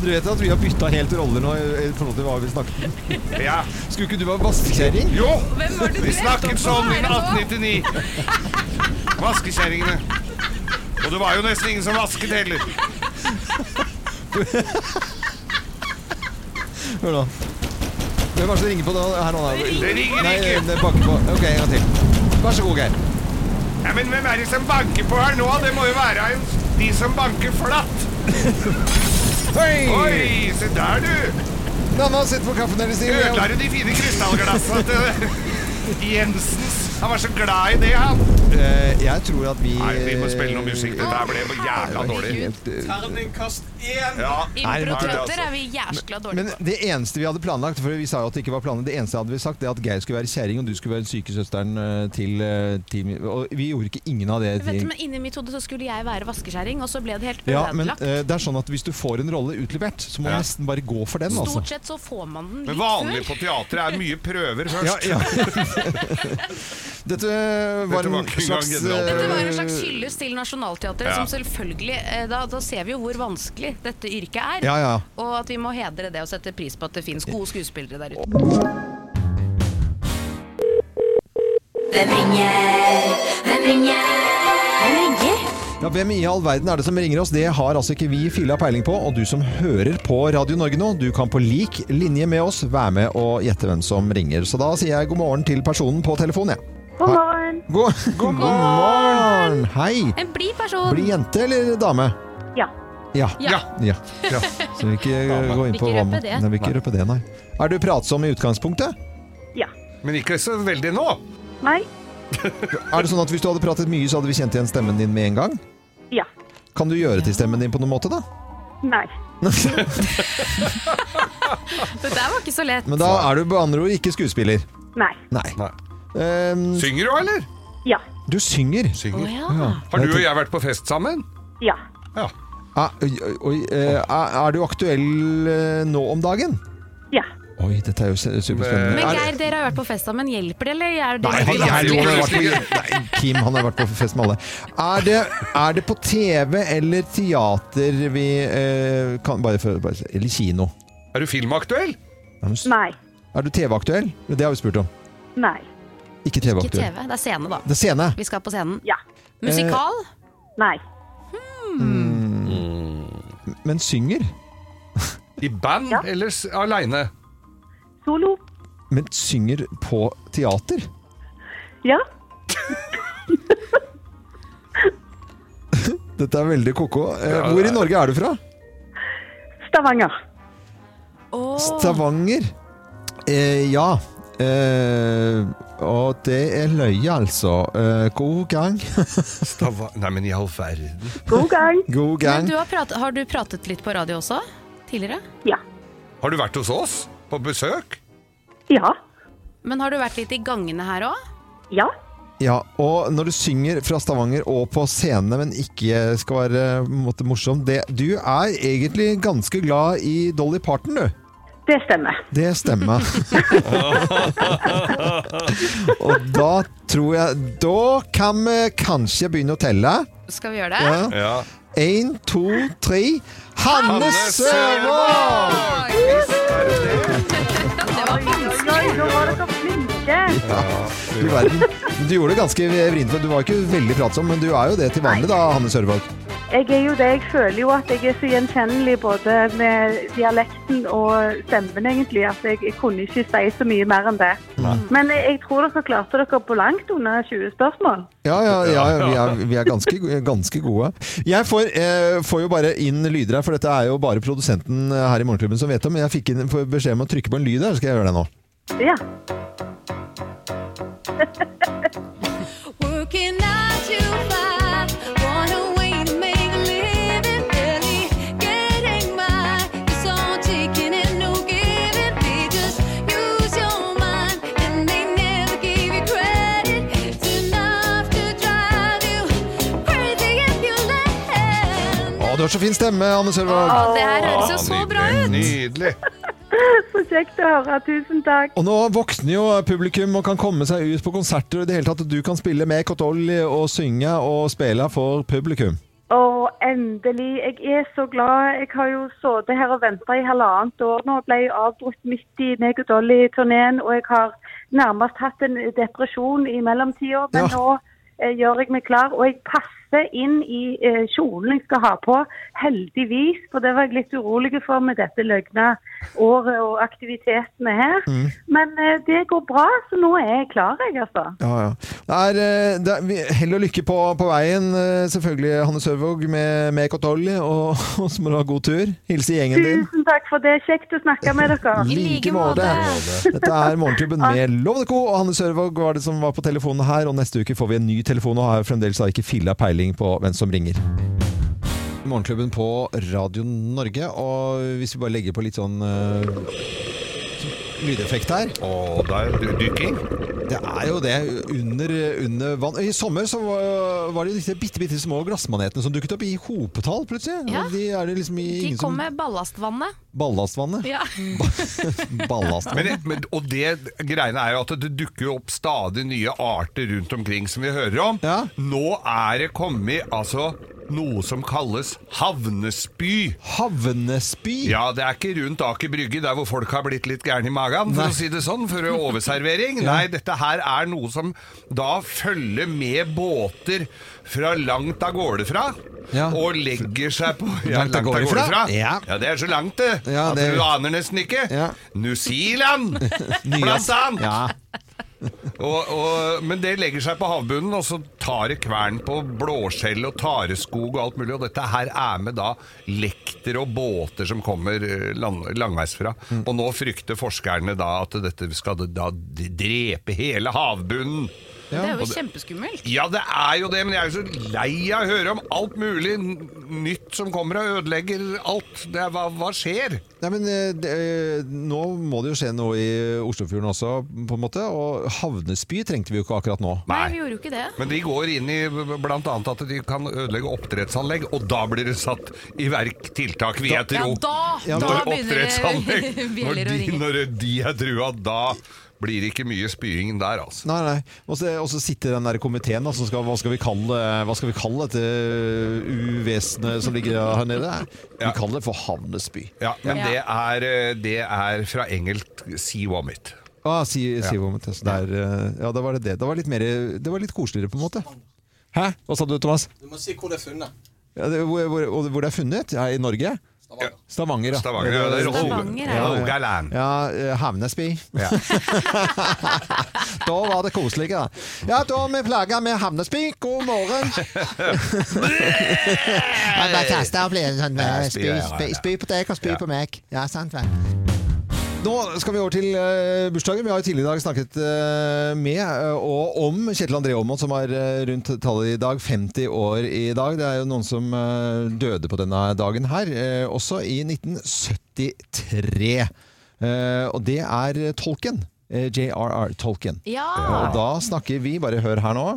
Du vet at vi har bytta helt roller nå i i forhold til hva vi snakket om? Ja. Skulle ikke du være vaskekjerring? Jo! Hvem var det du Vi drepte snakket opp på sånn i her nå? 1899. Vaskekjerringene. Og det var jo nesten ingen som vasket heller. Hør nå. Hvem er det som ringer på da? her nå? da? Det ringer Nei, eh, ikke. det banker på. Ok, en gang til. Vær så god, Geir. Ja, Men hvem er det som banker på her nå? Det må jo være en, de som banker flatt. Hei! Oi, se der, du. Nanna, sett på kaffen deres. Siri. Ødela du de fine krystallglassene til Jensens? Han var så glad i det, han. Eh, Jeg tror at vi Eh, Nei, vi må spille noe musikk. Dette her ble jævla dårlig. Terningkast én! Ja. Improtrøtter er vi jæskla dårlige altså. Men det eneste vi hadde planlagt, for vi sa jo at det ikke var planlagt, det eneste hadde vi sagt, det er at Geir skulle være kjerring, og du skulle være sykesøsteren eh, til, eh, til Og vi gjorde ikke ingen av det. Vet du, til- men Inni mitt hode så skulle jeg være vaskeskjæring, og så ble det helt Ja, men ødelagt. eh, det er sånn at hvis du får en rolle utlevert, så må du nesten bare gå for den, altså. Stort sett så får man den Men litt vanlig før. på teatret er mye prøver Ja, først. ja. Dette var, Dette var en ikke engang slags eh, generalprøve. Det var en slags hyllest til Nationaltheatret, Ja. som selvfølgelig eh, da, da ser vi jo hvor vanskelig dette yrket er. Ja, ja. Og at vi må hedre det og sette pris på at det finnes gode skuespillere der ute. Hvem ringer? Hvem ringer? Hvem ringer? Ja, Hvem i all verden er det som ringer oss? Det har altså ikke vi filla peiling på. Og du som hører på Radio Norge nå, du kan på lik linje med oss være med og gjette hvem som ringer. Så da sier jeg god morgen til personen på telefonen, jeg. God morgen. God, god morgen! Hei! En blid person. Blir jente eller dame? Ja. Ja. Ja. ja. Så vi ikke Dame. gå inn på Vil hva ikke man røpe det. Nei, vil ikke røpe det, nei. Er du pratsom i utgangspunktet? Ja. Men ikke så veldig nå. Nei. Er det sånn at hvis du hadde pratet mye, så hadde vi kjent igjen stemmen din med en gang? Ja. Kan du gjøre til stemmen din på noen måte, da? Nei. Det der var ikke så lett. Men da er du på andre ord ikke skuespiller. Nei. Nei. Ehm, Synger du, eller? Ja. Du synger? Synger. Ja. Har du og jeg vært på fest sammen? Ja. Ah, oi, oi, oi, eh, Er er du aktuell eh, nå om dagen? Ja. Oi, dette er jo se- superspennende. Men Eh, Er- Geir, dere har vært på fest sammen. Hjelper det, eller er det Nei, han, han, jo, han har vært på, nei, Kim han har vært på fest med alle. Er det, er det på TV eller teater vi eh, kan, bare, for, bare, Eller kino? Er du filmaktuell? Nei. Er du TV-aktuell? Det har vi spurt om. Nei. Ikke Ikke TV-aktuell. TV, det er scene, da. Det er scene. Vi skal på scenen. Ja. Eh, Musikal? Nei. Mm. Men synger? I band eller s- aleine? Solo? Men synger på teater? Ja. Dette er veldig ko-ko. Eh, Hvor i Norge er du fra? Stavanger. Stavanger? Eh, ja. Eh, og det er løye, altså. Eh, god gang. Stava... Nei, men i all verden. God gang. God gang. Men du har, prat, har du pratet litt på radio også? Tidligere? Har du vært hos oss? På besøk? Ja. Men har du vært litt i gangene her òg? Ja. Ja, og når du synger fra Stavanger og på scenene, men ikke skal være på en måte, morsom det, Du er egentlig ganske glad i Dolly Parton, du. Det stemmer. Det stemmer. og da tror jeg Da kan vi kanskje begynne å telle. Skal vi gjøre det? Én, to, tre Hanne Søvold! Det var Oi, nå var dere flinke. Du verden. Du gjorde det ganske vrient. for Du var ikke veldig pratsom, men du er jo det til vanlig, da, Hanne Sørvold. Jeg er jo det. Jeg føler jo at jeg er så gjenkjennelig både med dialekten og stemmen, egentlig. At jeg, jeg kunne ikke si så mye mer enn det. Mm. Men jeg, jeg tror dere klarte dere på langt under 20 spørsmål. Ja, ja, ja vi er, vi er ganske, ganske gode. Jeg får, eh, får jo bare inn lyder her, for dette er jo bare produsenten eh, her i Morgenklubben som vet om. Men jeg fikk inn får beskjed om å trykke på en lyd her, skal jeg gjøre det nå. Ja. Working nine to five, what a way to make a living. Barely getting by, it's all taking and no giving. They just use your mind and they never give you credit. It's enough to drive you crazy if you let. Å, du har så fin stemme, Anne Sørvold. Å, det her høres jo så bra ut. Nydelig. Så kjekt å høre. Tusen takk. Og nå våkner jo publikum og kan komme seg ut på konserter og i det hele tatt. og Du kan spille med Kotolli og synge og spille for publikum. Og endelig. Jeg er så glad. Jeg har jo sittet her og venta i halvannet år nå. Ble jeg avbrutt midt i meg og Dolly-turneen, og jeg har nærmest hatt en depresjon i mellomtida. Men nå eh, gjør jeg meg klar, og jeg passer passer inn i eh, kjolen jeg skal ha på, heldigvis. For det var jeg litt urolig for med dette løgna året og aktivitetene her. Mm. Men eh, det går bra, så nå er jeg klar, jeg, altså. Ja, ja. Det er, eh, det er, vi- hell og lykke på, på veien, eh, selvfølgelig, Hanne Sørvåg, med, med Kotolli. Og, og så må du ha god tur. Hilse gjengen din. Tusen takk for det. Kjekt å snakke med dere. I like måte. Dette er Morgenklubben med Lovende Co. Og Hanne Sørvåg var det som var på telefonen her. Og neste uke får vi en ny telefon, og har fremdeles har ikke filla peiling på hvem som ringer. Morgenklubben på Radio Norge, og hvis vi bare legger på litt sånn eh, lydeffekt her Og det er dykking. Det er jo det. Under, under vann I sommer så var, var det disse bitte, bitte små glassmanetene som dukket opp i hopetall plutselig. Ja. Og de er det liksom i, De ingen kom som med ballastvannet. Ballastvannet. Ja. Ballast. Men, men, og det greiene er jo at det dukker jo opp stadig nye arter rundt omkring som vi hører om. Nå er det kommet altså noe som kalles havnespy. Havnespy? Ja, det er ikke rundt Aker Brygge, der hvor folk har blitt litt gærne i magen, for Nei. å si det sånn, for overservering. Ja. Nei, dette her er noe som da følger med båter fra langt av gårde fra, Ja. og legger seg på Langt av gårde fra? Ja. ja, det er så langt det, Ja, det- at du aner nesten ikke. New Zealand, blant annet. Og, og, men det legger seg på havbunnen, og så tar det kvern på blåskjell og tareskog og alt mulig. Og dette her er med da lekter og båter som kommer eh, lang, langveisfra. Og nå frykter forskerne da at dette skal da drepe hele havbunnen. Det er Og jo kjempeskummelt. ja, det er jo det, men jeg er jo så lei av å høre om alt mulig n- nytt som kommer og ødelegger alt. Det er, hva, hva skjer? Nei, men eh, det, eh, Nå må det jo skje noe i Oslofjorden også, på en måte. Og havnespy trengte vi jo ikke akkurat nå. Nei, vi gjorde jo ikke det. Men de går inn i bl.a. at de kan ødelegge oppdrettsanlegg, og da blir det satt i verk tiltak, vil jeg Ja, tro. da- Ja, da når begynner det- oppdrettsanlegg når bjeller å de, ringe. når de er trua, da blir det ikke mye spying der, altså. Nei, nei. Og så og så sitter den der komiteen, da, som skal, hva, skal vi kalle, hva skal vi kalle dette eh, uvesenet som ligger her nede? Vi kaller det for havnespy. Ja, men Ja. Det, er, eh, det er fra engelsk sea vomit. Ah, si, si hvor mye test det er, eh, ja, da var det det. Det var litt, mer, det var litt koseligere, på en måte. Hæ? Hva sa du, Thomas? Du må si hvor det er funnet. Ja, det, hvor, hvor, og hvor det er funnet? Ja, I Norge? Stavanger. Stavanger, ja. Stavanger, ja, det er Rogaland. Stavanger, ja. Rogaland. Ja, eh, Havnespy. Ja. da var det koselig, da. Ja, da er vi plaga med havnespy. God morgen. Jeg bare kaster opp litt sånn eh, Ja, spy, spy, ja, ja. spy, spy på deg og spy Ja. på meg. Ja, sant vel. Nå skal vi over til eh, bursdagen. Vi har jo tidligere i dag snakket eh, med eh, og om Kjetil André Aamodt, som er eh, rundt tallet i dag, 50 år i dag. Det er jo noen som eh, døde på denne dagen her, eh, også i 1973. Eh, og det er Tolkien. Eh, J.R.R. Tolkien. Ja. Og da snakker vi, bare hør her nå.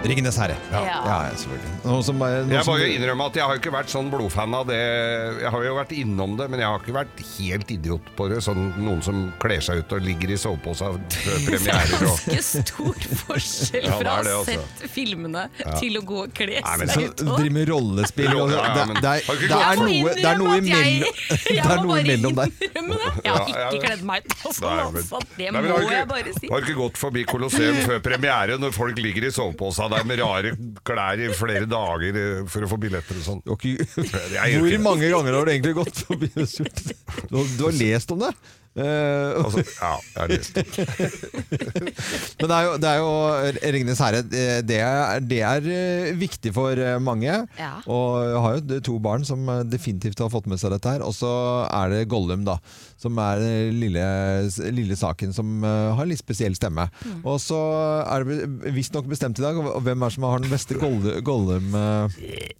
Ringenes herre. Ja. ja selvfølgelig. Noe som, eh, noe Jeg som- må jo innrømme at jeg har ikke vært sånn blodfan av det. Jeg har jo vært innom det, men jeg har ikke vært helt idiot på det. Sånn noen som kler seg ut og ligger i sovepose før premierer. og- Ganske stor forskjell Ja, det fra er det, å ha altså. sett filmene Ja. til å gå og kle Nei, men Så seg ut. og- driver med rollespill og Ja, ja, det, men- det, er- Har du ikke det er Jeg må noe, det er noe innrømme at jeg- imellom, det er noe imellom der. Jeg må bare innrømme det. Jeg har Ja, ja, ikke ja. kledd meg ut av sånn, Nei, men- altså. Det Nei, men har må ikke- jeg bare si. Har ikke gått forbi Colosseum før premiere når folk ligger i soveposa der med rare klær i flere dager eh, for å få billetter og sånn. Jeg gjør Hvor ikke det. mange ganger har du egentlig gått forbi og skjort? Du, har- du har lest om det? Eh, Altså, ja, jeg har lest det. Men det er jo, det er jo Ringenes herre, eh, det er, det er eh, viktig for eh, mange. Ja. Og jeg har jo d- to barn som eh, definitivt har fått med seg dette her. Og så er det Gollum, da. Som er den lille, s- lille saken som eh, har litt spesiell stemme. Mm. Og så er det be- visstnok bestemt i dag, og hvem er det som har den beste Goll- Gollum... eh?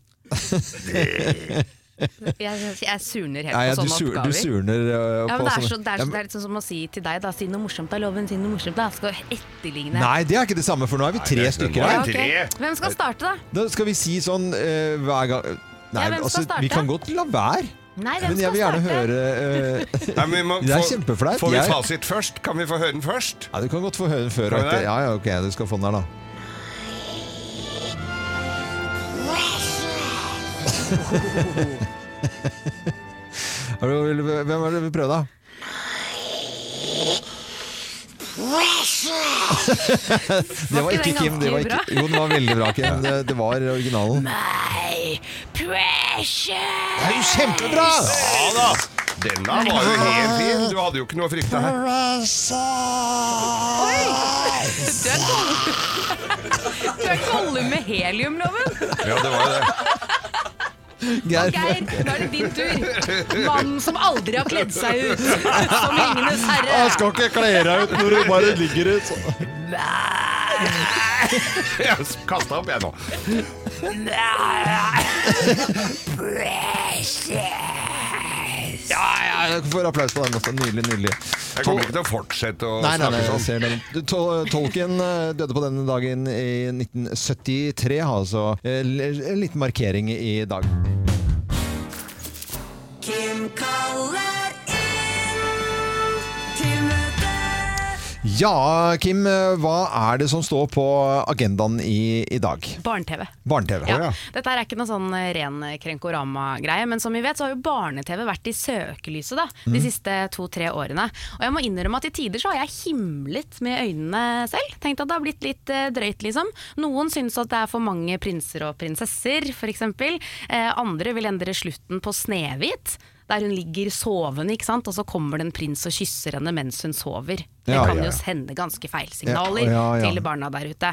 Jeg, jeg surner helt Ja, ja, på du sånne sur- du oppgaver. surner, øh, ja, på men det, er sånne- så, det, er, så- Ja, men- det er litt sånn som å si til deg da, si noe morsomt da, loven, si noe morsomt da. Jeg Skal etterligne. Nei, det er ikke det samme, for nå er vi tre det- stykker nå er her. Ja, ok. Hvem skal starte da? Da skal vi si sånn eh, hver gang Nei, Ja, hvem skal altså, vi starte? kan godt la være. Nei, hvem Men jeg skal vil gjerne starte? høre eh, Nei, men vi må Det er få- kjempeflaut. Får vi Jeg- fasit først? Kan vi få høre den først? Ja, du kan godt få høre den før Kan og vi etter. det? Ja, ja, ok, du skal få den her, da. Er du- Hvem er det vi prøver, da? det var ikke den ikke Kim. Det var ganske ikke, bra? jo, den var veldig bra, Kim. Det, det var originalen. My precious Det er jo kjempebra! Ja da! Denne var jo helt fin. Du hadde jo ikke noe å frykte her. Altså. Oi! Du er gollum Du er gollum med heliumloven. Ja, det var jo det. Geir, Geir, nå er det din tur. Mannen som aldri har kledd seg ut. Som Ringenes herre. Jeg skal ikke kle deg ut når du bare ligger ut. Jeg kasta opp, jeg nå. Ja, ja, jeg får applaus på den også. Nydelig, nydelig. Jeg kommer ikke til å fortsette å Nei, nei, nei, snakke jeg sånn. ser den. Du, Tol- Tolkien eh, døde på denne dagen i 1973, har altså eh, l- en liten markering i dag. Kim kaller inn til møte. Ja, Kim, eh, hva er det som står på agendaen i, i dag? Barne-TV. Barne-TV. Ja. Dette her er ikke noe sånn eh, ren Krenkorama-greie, men som vi vet så har jo barne-TV vært i søkelyset da, de Mhm. siste to-tre årene. Og jeg må innrømme at i tider så har jeg himlet med øynene selv. Tenkt at det har blitt litt eh, drøyt, liksom. Noen syns at det er for mange prinser og prinsesser, f.eks. Eh, andre vil endre slutten på Snehvit. Der hun ligger sovende, ikke sant? og så kommer det en prins og kysser henne mens hun sover. Det Ja, kan ja, ja. jo sende ganske feilsignaler Ja, ja, ja. til barna der ute.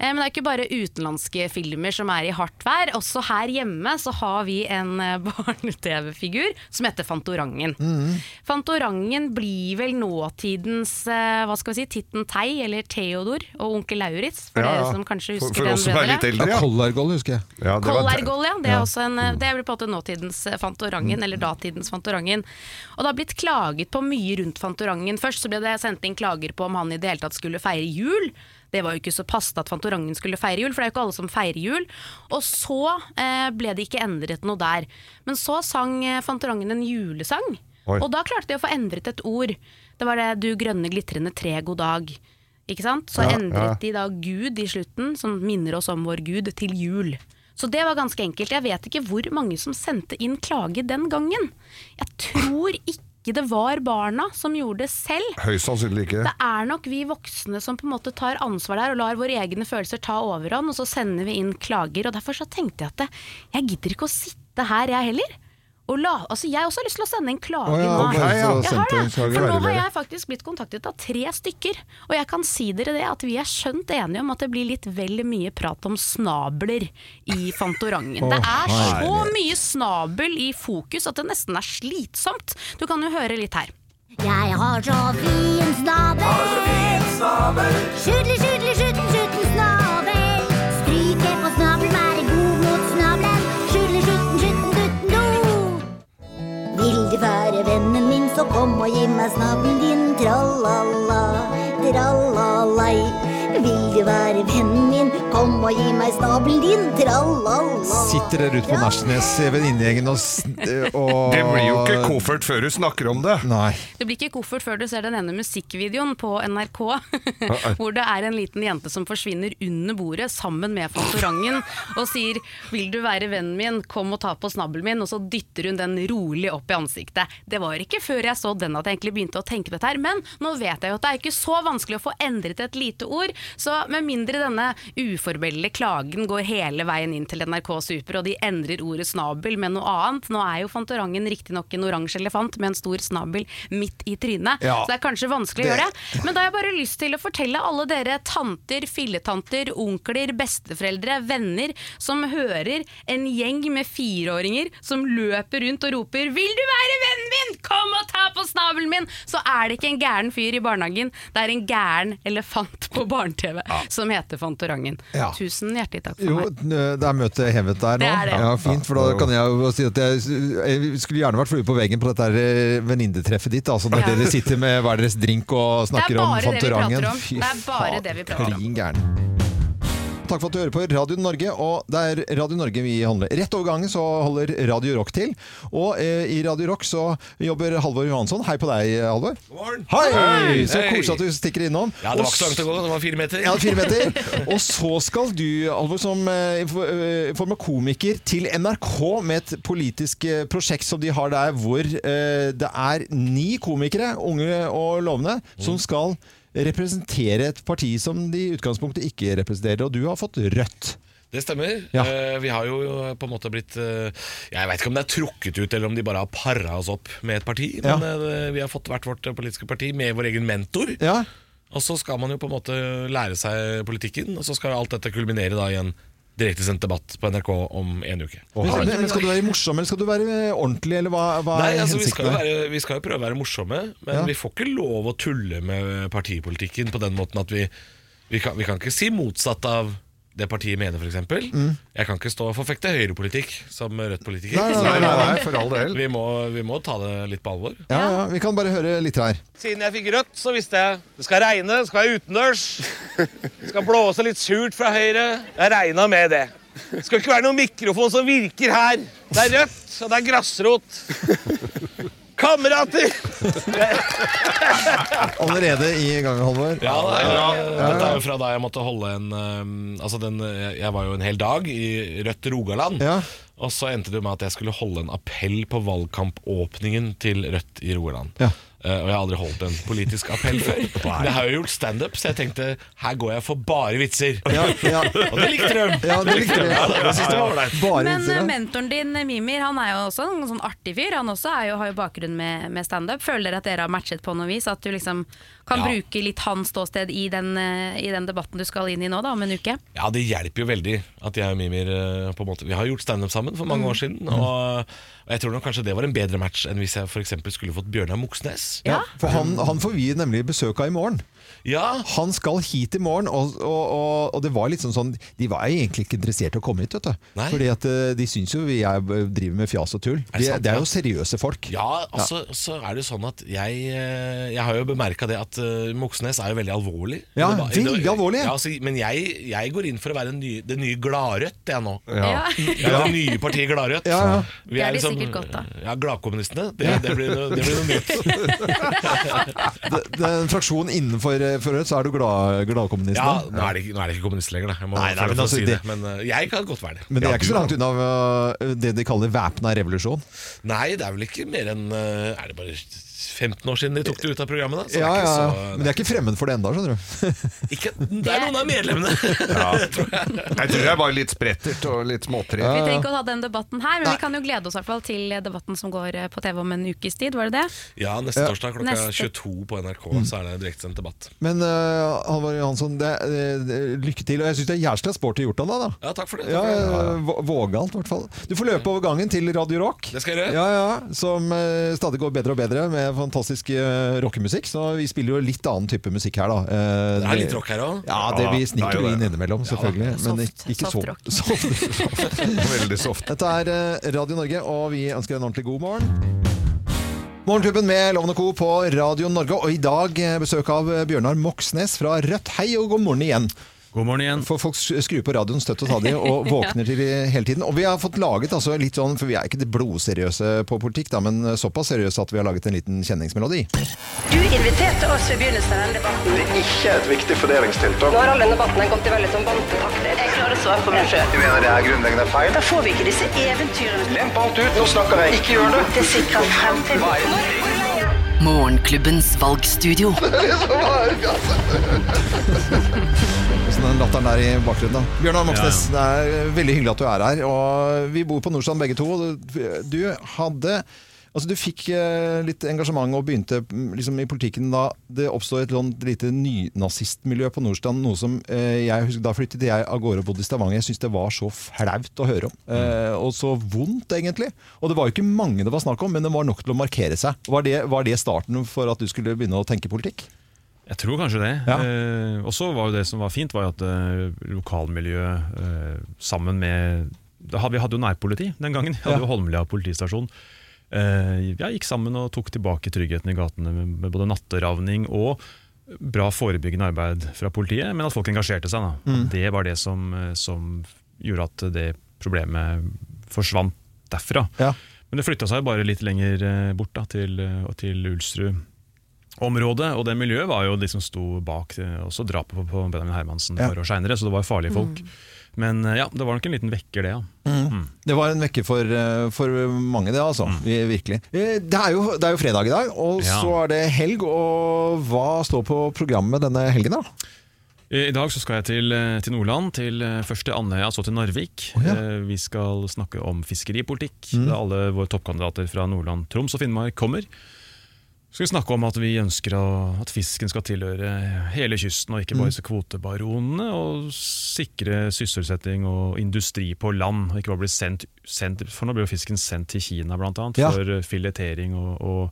Eh, Men det er ikke bare utenlandske filmer som er i hardt vær. Også her hjemme så har vi en eh, barne-TV-figur som heter Fantorangen. Fantorangen blir vel nåtidens eh, hva skal vi si, Titten Tei eller Theodor og Onkel Lauritz, for Ja, ja. dere som kanskje For- husker for den oss som er bedre. litt eldre, ja. Kollargoll, husker jeg. Kollergoll, ja. Det er, Ja. også en, eh, det er vel på en måte nåtidens eh, Fantorangen, eller datidens Fantorangen. Og det har blitt klaget på mye rundt Fantorangen. Først så ble det sendt inn klager på om han i det hele tatt skulle feire jul. Det var jo ikke så passende at Fantorangen skulle feire jul, for det er jo ikke alle som feirer jul. Og så eh, ble det ikke endret noe der. Men så sang eh, Fantorangen en julesang, Oi. og da klarte de å få endret et ord. Det var det 'du grønne glitrende tre, god dag'. Ikke sant? Så Ja, endret ja. de da Gud Mm. i slutten, som minner oss om vår Gud, til jul. Så det var ganske enkelt. Jeg vet ikke hvor mange som sendte inn klage den gangen. Jeg tror ikke det var barna som gjorde det selv. Høyst sannsynlig ikke. Det er nok vi voksne som på en måte tar ansvar der og lar våre egne følelser ta overhånd, og så sender vi inn klager. Og derfor så tenkte jeg at det- jeg gidder ikke å sitte her, jeg heller. Og la, altså jeg også har lyst til å sende en klage Å ja, nå. ok, så Jeg har sendte det. en klage For nå verre. har jeg faktisk blitt kontaktet av tre stykker. Og jeg kan si dere det at vi er skjønt enige om at det blir litt vel mye prat om snabler i Fantorangen. Å, Det er så herlighet. mye snabel i fokus at det nesten er slitsomt. Du kan jo høre litt her. Jeg har så fin snabel. Skjudle, skjudle, skjuten, skjuten snabel. Stryke på snabelen, være god mot snabelen. Skjudle, skjuten, skjuten, gutten, do. Vil du være vennen min, så kom og gi meg snabelen din. Tralala, tralalei. Vil du være vennen min, kom og gi meg snabelen din. Tralala. Sitter dere ute på Nasjnes i venninnegjengen og, s- og Det blir jo ikke koffert før du snakker om det. Nei. Det blir ikke koffert før du ser den ene musikkvideoen på NRK, Nei. hvor det er en liten jente som forsvinner under bordet sammen med Fantorangen og sier 'vil du være vennen min, kom og ta på snabelen min', og så dytter hun den rolig opp i ansiktet. Det var ikke før jeg så den at jeg egentlig begynte å tenke på dette her, men nå vet jeg jo at det er ikke så vanskelig å få endret et lite ord, så med mindre denne uformelle klagen går hele veien inn til NRK Super, og de endrer ordet snabel med noe annet. Nå er jo Fantorangen riktignok en oransje elefant med en stor snabel midt i trynet, Ja. så det er kanskje vanskelig å Det- gjøre. Men da har jeg bare lyst til å fortelle alle dere tanter, filletanter, onkler, besteforeldre, venner som hører en gjeng med fireåringer som løper rundt og roper 'Vil du være vennen min? Kom og ta på snabelen min!' Så er det ikke en gæren fyr i barnehagen, det er en gæren elefant på barne-TV som heter Fantorangen. Ja. Tusen hjertelig takk for Jo, eh, meg. det er møtet hevet der nå. Det er det. Ja, fint, for da kan jeg jo si at jeg, jeg skulle gjerne vært flue på veggen på dette her, eh, venninnetreffet ditt. Altså når Ja. dere sitter med hver deres drink og Det er snakker om bare det vi prater Fantorangen. om. Det er bare det vi prater om. Klin gæren. Takk for at du hører på Radio Norge, og det er Radio Norge vi handler. Rett over gangen så holder Radio Rock til, og eh, i Radio Rock så jobber Halvor Johansson. Hei på deg, Halvor. Hei! Hei! Så Hei! koselig at du stikker innom. Ja, det var Og ikke så langt å gå, det var fire meter. Ja, fire meter. Og så skal du, Alvor, som eh, for- eh, former komiker til NRK med et politisk eh, prosjekt som de har der, hvor eh, det er ni komikere, unge og lovende, som skal representere et parti som de i utgangspunktet ikke representerer. Og du har fått rødt. Det stemmer. Ja. Eh, Vi har jo på en måte blitt eh, Jeg veit ikke om det er trukket ut, eller om de bare har para oss opp med et parti. Men eh, vi har fått hvert vårt politiske parti med vår egen mentor. Og så skal man jo på en måte lære seg politikken, og så skal alt dette kulminere da i en direktesendt debatt på NRK om en uke. Men, men skal du være morsom, eller skal du være eh, ordentlig, eller hva, hva Nei, er altså, vi, skal jo hensikten? her? være, vi skal jo prøve å være morsomme, men Ja. vi får ikke lov å tulle med partipolitikken på den måten at vi Vi kan, vi kan ikke si motsatt av det partiet mener, f.eks. Mm. Jeg kan ikke stå og forfekte høyrepolitikk som Rødt-politiker. Nei, nei, nei, nei, nei, for all del. Vi må, vi må ta det litt på alvor. Ja, ja, vi kan bare høre litt her. Siden jeg fikk rødt, så visste jeg det skal regne, det skal være utendørs. Det skal blåse litt surt fra høyre. Jeg regna med det. Det skal ikke være noen mikrofon som virker her. Det er rødt, og det er grasrot. Kamerater! Allerede i gang, Halvor. Ja, det er, Ja, ja, Dette ja. er jo fra da jeg måtte holde en eh, Altså den, eh, Jeg var jo en hel dag i Rødt Rogaland. Og så endte det jo med at jeg skulle holde en appell på valgkampåpningen til Rødt i Rogaland. Eh, og jeg har aldri holdt en politisk appell før. Men jeg har jo gjort standup, så jeg tenkte her går jeg for bare vitser. og det likte de! Ja, det likte de. Ja, det synes jeg var ålreit. Bare Men eh, mentoren din, eh, Mimir, han er jo også en sånn artig fyr. Han også er jo, har jo bakgrunn med, med standup. Føler dere at dere har matchet på noe vis? At du liksom kan Ja. bruke litt hans ståsted i den, eh, i den debatten du skal inn i nå, da, om en uke? Ja, det hjelper jo veldig at jeg og Mimir eh, på en måte, Vi har gjort standup sammen for mange Mm. år siden. Og, og jeg tror nok kanskje det var en bedre match enn hvis jeg for eksempel skulle fått Bjørnar Moxnes. Ja, for han, han får vi nemlig besøk av i morgen. Han skal hit i morgen, og, og, og, og det var litt sånn sånn De var egentlig ikke interessert i å komme hit, vet du. Nei. Fordi at eh, de syns jo vi er, eh, driver med fjas og tull. det De, sant, det er ja? jo seriøse folk. Ja, og så- så er det jo sånn at jeg eh, Jeg har jo bemerka det at eh, Moxnes er jo veldig alvorlig. Ja, I deba- i veldig det- alvorlig. Ja, altså, men jeg, jeg går inn for å være en ny, det nye Gladrødt, jeg nå. Ja. Ja, det nye partiet Gladrødt. Ja, ja. Vi Det er de liksom- sikkert godt av. Ja, Gladkommunistene. Det, det, blir noe- det blir noe nytt. Det, det er en fraksjon innenfor eh, for Rødt, så er du glad, gladkommunist Ja, nå? nå er det ikke, nå er det ikke kommunist lenger, da. Jeg må Nei, nei, få men lov til å altså, si det. det- Men eh, jeg kan godt være det. Men det Ja, er ikke så du langt kan. unna eh, det de kaller væpna revolusjon. Nei, det er vel ikke mer enn eh, Er det bare 15 år siden de tok det ut av programmet? da? Så det er Ja, ikke ja. så- Men de er ikke fremmed for det ennå, skjønner du. Det er noen av medlemmene! tror jeg. jeg tror jeg var litt sprettert og litt småtre. Vi trenger ikke å ta den debatten her, men vi kan jo glede oss i hvert fall til debatten som går eh, på TV om en ukes tid, var det det? Ja, neste Ja. torsdag klokka Neste. 22 på NRK Mm. så er det direktesendt debatt. Men eh, Halvor Johansson, det, eh, det- lykke til. Og jeg syns det er jævla sporty gjort av deg, da. Ja, takk for det. Ja, Takk for det. eh, vå- vågalt, i hvert fall. Du får løpe over gangen til Radio Rock. Det skal jeg gjøre. Ja, ja, Som eh, stadig går bedre og bedre med fantastisk eh, rockemusikk. Så vi spiller jo litt annen type musikk her, da. Eh, Det er litt rock her også. Ja, det, vi Ja, det er sniker jo jo det. inn innimellom, Ja, selvfølgelig. da. men Soft- ikke, ikke soft så rock. soft. Veldig soft. Dette er eh, Radio Norge, og vi ønsker en ordentlig god morgen. Morgenklubben med Lovende Co. på Radio Norge, og i dag eh, besøk av eh, Bjørnar Moxnes fra Rødt. Hei og god morgen igjen. God morgen igjen. For folk skrur på radioen støtt og stadig og våkner til i- hele tiden. Og vi har fått laget altså litt sånn, for vi er ikke det blodseriøse på politikk, da, men eh, såpass seriøse at vi har laget en liten kjenningsmelodi. Du inviterte oss ved begynnelsen av denne debatten. Ikke et viktig fordelingstiltak. Nå har all denne debatten gått i veldig sånn vante takter. Jeg klarer å svare på meg sjøl. mener det er grunnleggende feil? Da får vi ikke disse eventyrene. Lemp alt ut, nå snakker jeg. Ikke gjør det. Det sikrer fremtiden. Morgenklubbens valgstudio. Sånn den latteren der i bakgrunnen da. Bjørnar Moxnes, det er veldig hyggelig at du er her. Og vi bor på Nordstrand begge to. og Du hadde Altså, du fikk eh, litt engasjement og begynte mm, liksom, i politikken da det oppstod et sånt lite nynazistmiljø på Nordstrand. Noe som eh, jeg husker, Da flyttet jeg av gårde og bodde i Stavanger. Jeg syntes det var så flaut å høre om. Eh, og så vondt, egentlig. Og det var jo ikke mange det var snakk om, men det var nok til å markere seg. Var det, var det starten for at du skulle begynne å tenke politikk? Jeg tror kanskje det. Eh, og så var jo det som var fint, var jo at eh, lokalmiljøet eh, sammen med da hadde, Vi hadde jo nærpoliti den gangen. Vi hadde jo Holmlia politistasjon. Eh, ja, gikk sammen og tok tilbake tryggheten i gatene med, med både natteravning og bra forebyggende arbeid fra politiet, men at folk engasjerte seg. Da. Mm. Det var det som, eh, som gjorde at det problemet forsvant derfra. Men det flytta seg jo bare litt lenger eh, bort, da, til, eh, til Ulsrud-området. Og det miljøet var jo de som sto bak eh, også drapet på- på Benjamin Hermansen Ja. et par år seinere, så det var farlige folk. Mm. Men eh, ja, det var nok en liten vekker, det. Ja. Mm. Det var en vekker for, eh, for mange, det altså. Vi- Virkelig. Eh, Det er, jo, det er jo fredag i dag, og Ja. så er det helg. Og hva står på programmet denne helgen, da? I dag så skal jeg til, eh, til Nordland, til først til Andøya, så til Narvik. Eh, Vi skal snakke om fiskeripolitikk, Mm. da alle våre toppkandidater fra Nordland, Troms og Finnmark kommer. Så skal vi snakke om at vi ønsker å, at fisken skal tilhøre hele kysten, og ikke bare Mm. disse kvotebaronene, og sikre sysselsetting og industri på land, og ikke bare bli sendt, sendt For nå blir jo fisken sendt til Kina, blant annet, Ja. for filetering og, og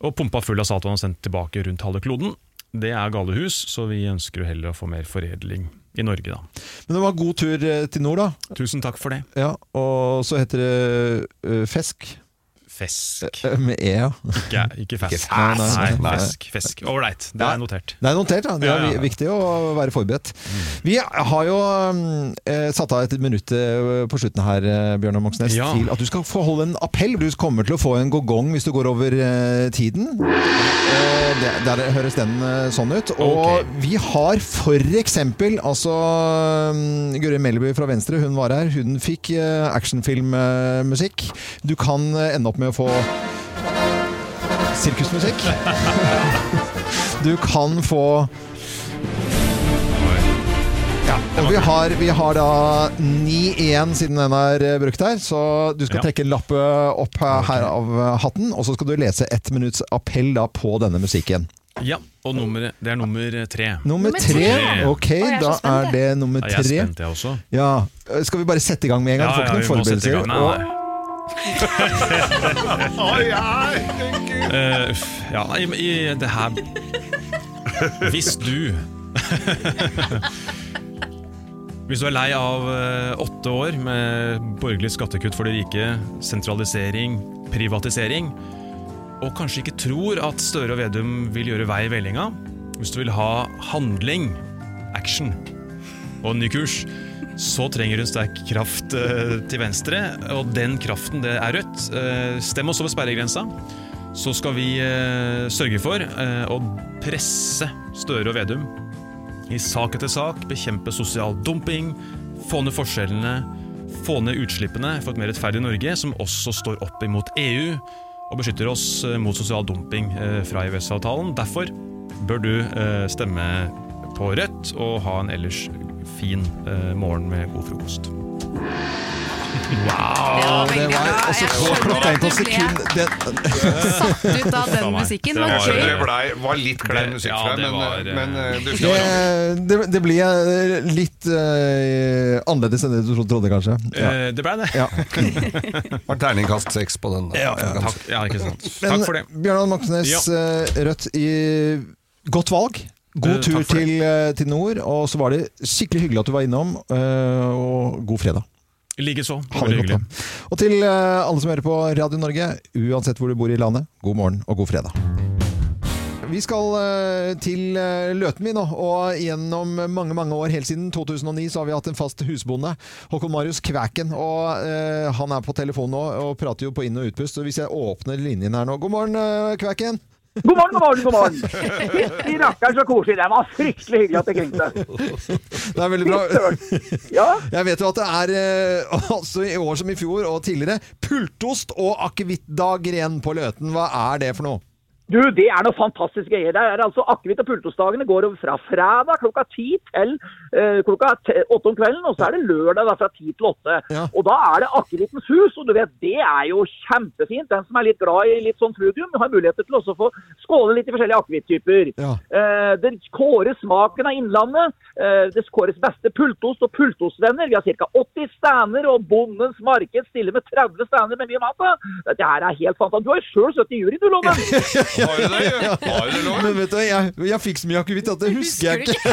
og pumpa full av saltvann og sendt tilbake rundt halve kloden. Det er galehus, så vi ønsker jo heller å få mer foredling i Norge, da. Men det var god tur eh, til nord, da. Tusen takk for det. Ja, Og så heter det eh, Fesk. Fesk. Eh, Med E, ja. Ikke, ikke fesk. Nei, nei, nei. Nei, fesk. fesk. Ålreit, det er notert. Det er notert, da. Det er Ja, ja. vi- viktig å være forberedt. Vi har jo mm, eh, satt av et minutt eh, på slutten her, eh, Bjørnar Moxnes, Ja. til at du skal få holde en appell. Du kommer til å få en gogong hvis du går over eh, tiden. Eh, det- Der høres den eh, sånn ut. Og vi har for eksempel altså mm, Guri Melby fra Venstre, hun var her. Hun fikk eh, actionfilmmusikk. Du kan eh, ende opp med å få Sirkusmusikk. Du kan få ja, og vi har, vi har da 9 igjen siden den er eh, brukt her, så du skal Ja. trekke en lapp eh, opp her, her av eh, hatten, og så skal du lese ett minutts appell da på denne musikken. Ja, og nummeret, det er nummer tre. Nummer tre, ok, da er det nummer Ja, tre. jeg er spent, jeg også. Ja, eh, skal vi bare sette i gang med en gang? Ja, Får ja, ikke noen vi må sette i gang. forberedelser. Nei, nei. Oi, herregud. Eh, uff, ja, i, i det her Hvis du Hvis du er lei av eh, åtte år med borgerlig skattekutt for de rike, sentralisering, privatisering, og kanskje ikke tror at Støre og Vedum vil gjøre vei i vellinga, hvis du vil ha handling, action og en ny kurs, så trenger du en sterk kraft eh, til venstre, og den kraften det er Rødt. Eh, stem oss over sperregrensa, så skal vi eh, sørge for eh, å presse Støre og Vedum i sak etter sak, bekjempe sosial dumping, få ned forskjellene, få ned utslippene for et mer rettferdig Norge, som også står opp imot EU og beskytter oss eh, mot sosial dumping eh, fra EØS-avtalen. Derfor bør du eh, stemme på Rødt og ha en ellers fin eh, morgen med god frokost. Ja, Wow! det var altså så klokka inn på sekund den, Satt ut av den Nei, musikken det var var- gøy. Det blei- var litt klein musikk Ja, fra det deg, var, men, eh, men eh, du Det, skal det, det blir eh, litt eh, annerledes enn det du trodde, kanskje. Eh, det blei det. Ja. Var terningkast seks på den. da. Ja, ja. Takk, ja, ikke sant. Men Takk for det. Bjørnar Moxnes, Ja. eh, Rødt, i godt valg. Eh, God tur takk for det. til, eh, til nord, og så var det skikkelig hyggelig at du var innom. eh, Og god fredag. Likeså. Ha det godt. da. Og til eh, alle som hører på Radio Norge, uansett hvor du bor i landet, god morgen og god fredag. Vi skal eh, til eh, Løten vi nå, og gjennom mange mange år, helt siden 2009, så har vi hatt en fast husbonde, Håkon Marius Kvæken. og eh, Han er på telefon nå og prater jo på inn- og utpust. så Hvis jeg åpner linjen her nå God morgen, eh, Kvæken! God morgen, god morgen, god morgen. Fytti rakkeren så koselig. Det var fryktelig hyggelig at det ringte. Det er veldig bra. Jeg vet jo at det er, eh, altså i år som i fjor og tidligere, pultost og akevittdag igjen på Løten. Hva er det for noe? Du, det er noe fantastisk greier. Det er altså Akevitt og pultostdagene går over fra fredag klokka ti til eh, klokka te- åtte om kvelden, og så er det lørdag da, fra ti til åtte. Og da er det Akevittens hus, og du vet, det er jo kjempefint. Den som er litt glad i litt sånn frugium, har muligheter til også å få skåle litt i forskjellige akevitttyper. Eh, det kåres smaken av Innlandet, eh, det kåres beste pultost og pultostvenner. Vi har ca. 80 stander, og Bondens Marked stiller med 30 stander med mye mat. da. Dette her er helt fantastisk. Du har jo sjøl sittet i jury, du, Loven. Har du det? jo? Har du det lov? Men vet du, jeg, jeg fikk så mye akevitt at det husker jeg ikke.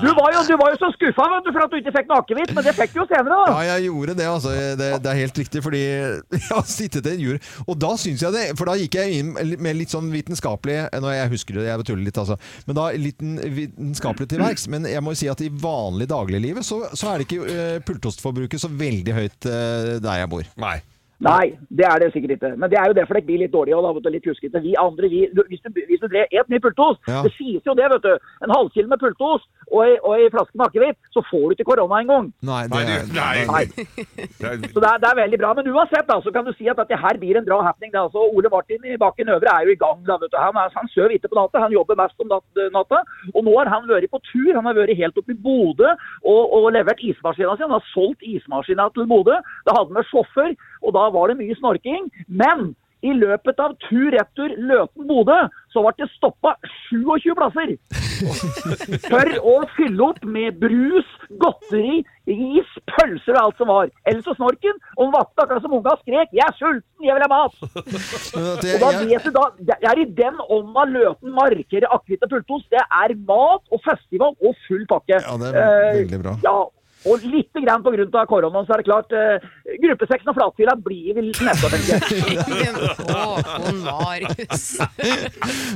Du var jo, du var jo så skuffa vet du, for at du ikke fikk noe akevitt, men det fikk du jo senere. da. Ja, jeg gjorde det, altså. Det, det er helt riktig, fordi jeg har sittet i en jury. Og da syns jeg det, for da gikk jeg inn med litt sånn vitenskapelig Nå, Jeg husker det, jeg tuller litt, altså. Men da litt vitenskapelig til verks. Men jeg må jo si at i vanlig dagliglivet så, så er det ikke eh, pultostforbruket så veldig høyt eh, der jeg bor. Nei. Nei, det er det sikkert ikke. Men det er jo derfor det blir litt dårlig. Og da, vet du, litt huskete. Vi andre, vi, du, hvis, du, hvis du drev et mye pultost, Ja. det sies jo det, vet du. En halvkilo med pultost og ei- og ei flaske med akevitt, så får du ikke korona engang. Nei, Nei, det, du, nei. Så det er, det er veldig bra. Men uansett da, så kan du si at dette her blir en bra happening. Det er altså, Ole Martin i Bakken Øvre er jo i gang. Da, vet du. Han, er, han søv ikke på natta, han jobber mest om nat natta. Og nå har han vært på tur. Han har vært helt oppe i Bodø og, og levert ismaskina si. Han har solgt ismaskina til Bodø. Da hadde han med sjåfør, og da var det mye snorking. Men i løpet av tur-retur Løten-Bodø så ble det stoppa 27 plasser for å fylle opp med brus, godteri, is, pølser og alt som var. Ellers så snorken. Om vakta, akkurat som unga, skrek 'Jeg er sulten, jeg vil ha mat'. jeg- og da jeg- vet du da, Det er i den ånda Løten markerer akevitt og pultos. Det er mat og festival og full pakke. Ja, det er veldig bra. ja, og litt grann på grunn av koronaen, så er det klart. Eh, gruppesexen og flatfila blir vel neste år, tenker jeg. Håkon Marius.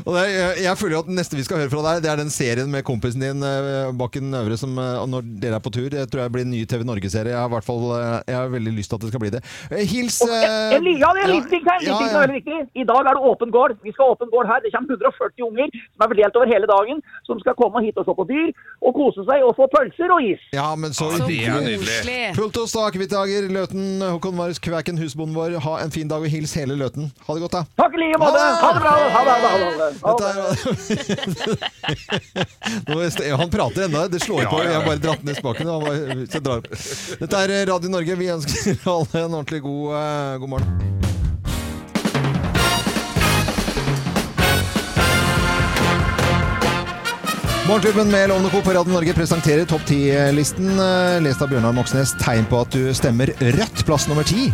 Og det er, jeg, jeg føler jo at den neste vi skal høre fra deg, det er den serien med kompisen din, eh, Bakken Øvre, som eh, og når dere er på tur. Jeg tror jeg blir en ny TV Norge-serie. Jeg har i hvert fall eh, jeg har veldig lyst til at det skal bli det. Eh, Hils Og en- en li- ja, det er en liten ting til. en liten ting som er veldig viktig. I dag er det åpen gård. Vi skal ha åpen gård her. Det kommer 140 unger som er fordelt over hele dagen, som skal komme hit og se på dyr og kose seg og få pølser og is. Ja, men så, Ja, det er hyggelig. nydelig. Pultos da, akevittdager, Løten, Håkon Marius Kvæken, husbonden vår. Ha en fin dag og hils hele Løten. Ha det godt, da. Takk i like måte. Ha det bra. Ha det, ha det, ha det, ha det. Ha det. Nå, han prater ennå, det slår Ja, på. ja, ja. Jeg har bare dratt ned spaken. og Han bare, så drar. Dette er Radio Norge. Vi ønsker alle en ordentlig god, eh, god morgen. Morgenklubben med Lovende Co. på Radio Norge presenterer topp 10-listen, eh, lest av Bjørnar Moxnes. Tegn på at du stemmer rødt. Plass nummer ti.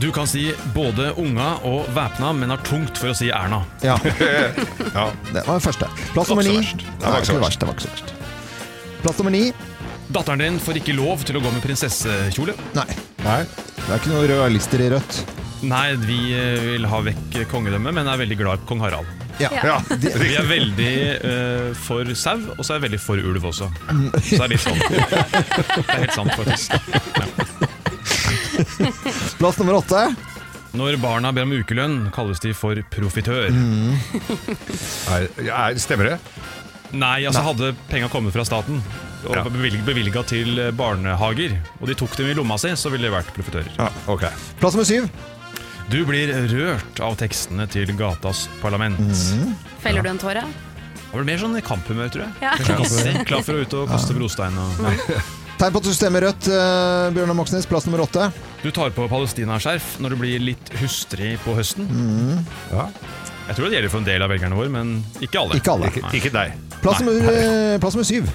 Du kan si både unga og væpna, men har tungt for å si Erna. Ja. Det var den første. Plass nummer ni. Det var ikke så Nei, verst. Det var ikke så verst. Plass nummer ni. Datteren din får ikke lov til å gå med prinsessekjole. Nei. Det er ikke noen rødlister i rødt. Nei, vi eh, vil ha vekk kongedømmet, men er veldig glad i kong Harald. Ja. Ja. Det- Vi er veldig eh, for sau, og så er jeg veldig for ulv også. Mm. Så det er litt sånn. Det er helt sant, faktisk. Plass nummer åtte. Når barna ber om ukelønn, kalles de for profitør. Mm. Er, er, stemmer det? Nei, altså hadde penga kommet fra staten og Ja. bevilg, bevilga til eh, barnehager, og de tok dem i lomma si, så ville de vært profitører. Plass nummer syv. Du blir rørt av tekstene til Gatas parlament. Mm. Feller du en tåre? Det var mer sånn i kamphumør, tror jeg. Ja. Kanskje hissig, Klar for å ut og kaste brostein. Og... Tegn på at du stemmer rødt, eh, Bjørnar Moxnes. Plass nummer åtte. Du tar på palestinaskjerf når du blir litt hustrig på høsten. Mm. Jeg tror det gjelder for en del av velgerne våre, men ikke alle. Ikke alle. Nei. Ikke deg. Plass nummer, eh, plass nummer syv.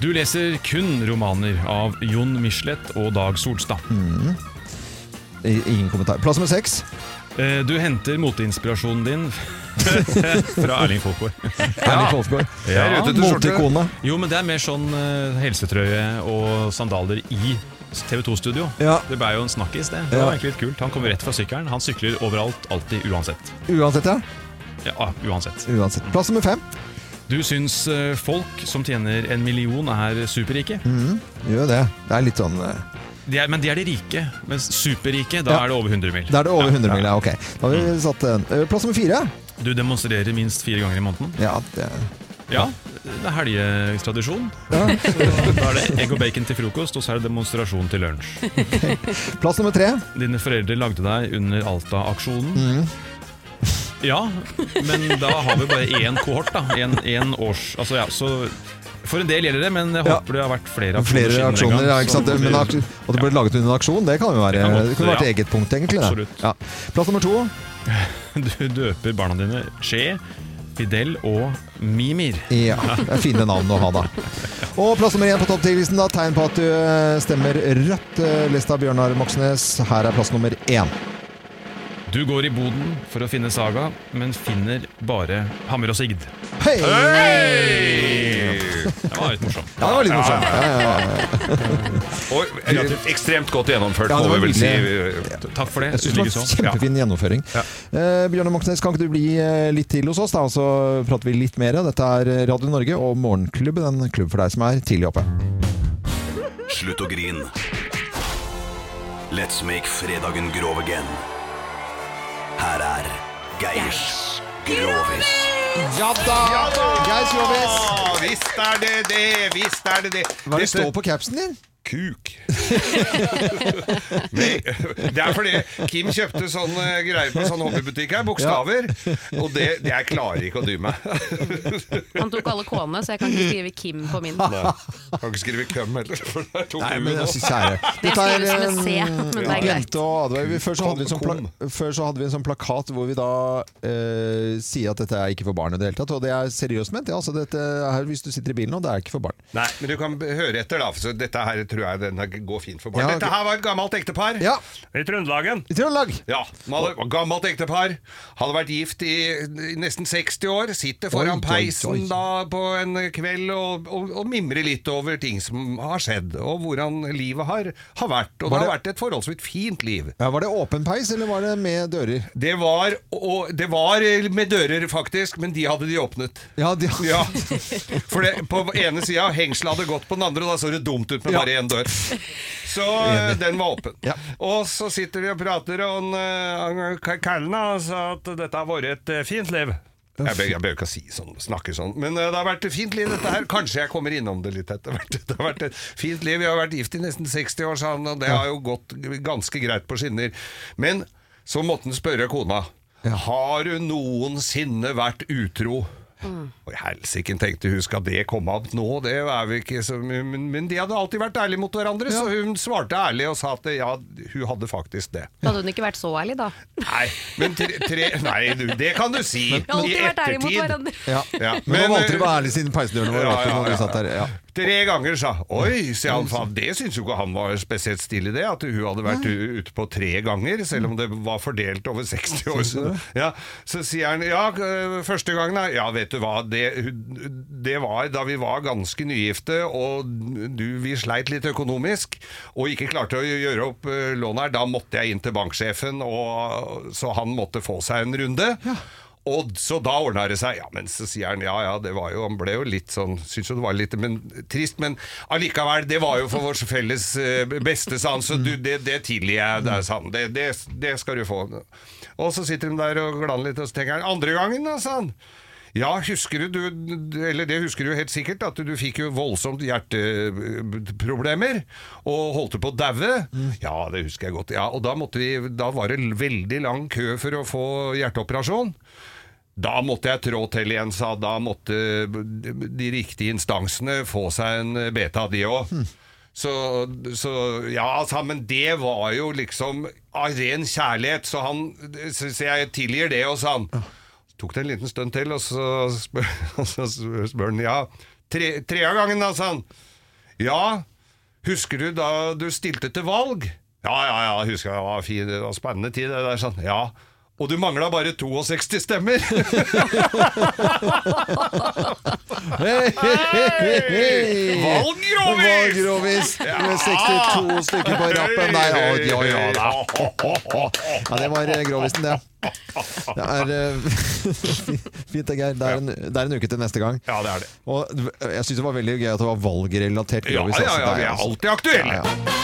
Du leser kun romaner av Jon Michelet og Dag Solstad. Mm. I- Ingen kommentar. Plass nummer seks. Eh, Du henter moteinspirasjonen din fra Erling Folkvord. Erling Folkvord. Jeg er ute etter skjorte. Moteikone. Jo, men det er mer sånn eh, helsetrøye og sandaler i TV 2-studio. Ja. Det ble jo en snakkis, det. Det Ja. var egentlig litt kult. Han kommer rett fra sykkelen. Han sykler overalt, alltid, uansett. Uansett, ja. Ja, ah, uansett. Uansett. Plass nummer fem. Du syns eh, folk som tjener en million er superrike? Mm. Gjør det. Det er litt sånn eh, De er, men de er de rike. Mens superrike, da Ja. er det over 100 mil. Da er det over 100 mil, ja. Ok. Da har Mm. vi satt den. Eh, Plass nummer fire. Du demonstrerer minst fire ganger i måneden. Ja, det... Ja, det er helgetradisjon. da er det egg og bacon til frokost, og så er det demonstrasjon til lunsj. Plass nummer tre. Dine foreldre lagde deg under Alta-aksjonen. Mm. Ja, men da har vi bare én kohort, da. En, en års Altså, ja, så For en del gjelder det, men jeg håper det har vært flere aksjoner. Flere siden den aksjoner, gang, ja, ikke så sant? Men at blir- at det ble laget under en aksjon, det kan jo være kan godt- Det kunne vært ja. eget punkt, egentlig. det. Absolutt. Ja. Plass nummer to. Du døper barna dine Che, Fidel og Mimir. Ja, det er fine navn å ha, da. Og plass nummer én på topp 10-listen, da. Tegn på at du eh, stemmer rødt. eh, Lista Bjørnar Moxnes. Her er plass nummer én. Du går i boden for å finne Saga, men finner bare Hammer og Sigd. Hei! Det var litt morsomt. Ja, det var litt morsomt. Ja, ja, Og eh, ekstremt godt gjennomført, Ja, det må var vi vel si. virkelig- Takk for det. Jeg synes det sånn. var kjempefin gjennomføring. Eh, Bjørnar Moxnes, kan ikke du bli eh, litt til hos oss, da? og Så prater vi litt mer. Dette er eh, Radio Norge og Morgenklubben, en klubb for deg som er tidlig oppe. Slutt å grin. Let's make fredagen grov again. Her er Geirs Grovis. Ja da! Geir Grovis. Visst er det det, visst er det det. Hva er det står på capsen din? Kuk. Nei, det er fordi Kim kjøpte sånn eh, greier på sånn hobbybutikk her, bokstaver. Og det, det jeg klarer ikke å dy meg. Han tok alle K-ene, så jeg kan ikke skrive Kim på min. Nei. Kan ikke skrive køm heller, for det er to Nei, u men nå. altså, kjære Det skrives med C, men det er jeg greit. glemte å advare. Vi- Før så, hadde vi en sånn pla før så hadde vi en sånn plakat hvor vi da eh, sier at dette er ikke for barn i det hele tatt. Og det er seriøst ment. Ja, altså, dette her, hvis du sitter i bilen nå, det er ikke for barn. Nei, men du kan b- høre etter, da. For så dette her tror jeg den her går fint for barn. Ja, Dette ok. her var et gammelt ektepar. I Trøndelagen. I Trøndelag. Ja, man hadde- Gammelt ektepar. Hadde vært gift i, i nesten 60 år. Sitter foran Oi, oi, peisen oi. da på en kveld og, og, og mimrer litt over ting som har skjedd, og hvordan livet har, har vært. Og det Var har det- vært et forholdsvis fint liv. Ja, var det åpen peis, eller var det med dører? Det var, og det var med dører, faktisk, men de hadde de åpnet. Ja, de... ja. For det, på ene sida hengselet hadde gått på den andre, og da så det dumt ut med Ja. bare én dør. Så Enig. eh, den var åpen. Og så sitter vi og prater, og han, eh, K- Kallen han sa at dette har vært et eh, fint liv. Jeg bør, jeg bør ikke si sånn, snakke sånn, men eh, det har vært et fint liv, dette her. Kanskje jeg kommer innom det litt etter hvert. Det har vært et fint liv. Vi har vært gift i nesten 60 år, sa han, og det har jo gått ganske greit på skinner. Men så måtte han spørre kona. Har du noensinne vært utro? Mm. Og i helsike, tenkte hun, skal det komme opp nå? Det er vi ikke så men, men de hadde alltid vært ærlige mot hverandre, så hun svarte ærlig og sa at ja, hun hadde faktisk det. Da hadde hun ikke vært så ærlig, da. Nei, men tre, tre Nei, du, det kan du si. Vi har alltid vært ærlige mot hverandre. Ja. Ja, Men, men, nå valgte du å eh, være ærlig siden peisdørene var ja, åpne. ja, når ja. vi satt der. Ja. Tre ganger sa Oi, sier han, faen, det syns jo ikke han var spesielt stille, det. At hun hadde vært u- ute på tre ganger, selv om det var fordelt over 60 år. Syns du Så, det? ja, så sier han ja, øh, første gangen, da. Ja, vet du hva, det, hun- det var da vi var ganske nygifte, og du, vi sleit litt økonomisk, og ikke klarte å gjøre opp øh, lånet her. Da måtte jeg inn til banksjefen, og, så han måtte få seg en runde. Og så da ordna det seg. Ja, men så sier han ja, ja, det var jo Han ble jo litt sånn Syns jo det var litt men, trist, men allikevel, det var jo for vår felles eh, beste, sa han. Så du, det, det tilgir jeg deg, sa han. Det, det, det skal du få. Og så sitter de der og glanner litt, og så tenker han andre gangen, da, sa han. Ja, husker du, du Eller det husker du helt sikkert, at du fikk jo voldsomt hjerteproblemer og holdt på å daue. Ja, det husker jeg godt. Ja, og da, måtte vi, da var det veldig lang kø for å få hjerteoperasjon. Da måtte jeg trå til igjen, sa han. Da måtte de riktige instansene få seg en beta, de òg. Så, så Ja, sa han, men det var jo liksom av ren kjærlighet, så han Så så jeg tilgir det, og sa han. Tok det en liten stund til, og så spør, og så spør han ja. Tre, tre av gangen, da, sa han. Ja, husker du da du stilte til valg? Ja, ja, ja, husker jeg, det var, fin, det var spennende tid det der, sånn. Ja, og du manglet bare 62 stemmer. Hei, hei, hei, hei. Valgrovis! Valgrovis med 62 stykker på rappen der. Ja, ja, ja, da. ja det var eh, grovisen, det. Det er eh, fint, det, Geir. Det er, en, det er en uke til neste gang. eh, Ja, det er det. Og jeg syns det var veldig gøy at det var valgrelatert Ja, grovis. ja, altså. ja, Det vi er altså- alltid aktuelle. Ja, ja.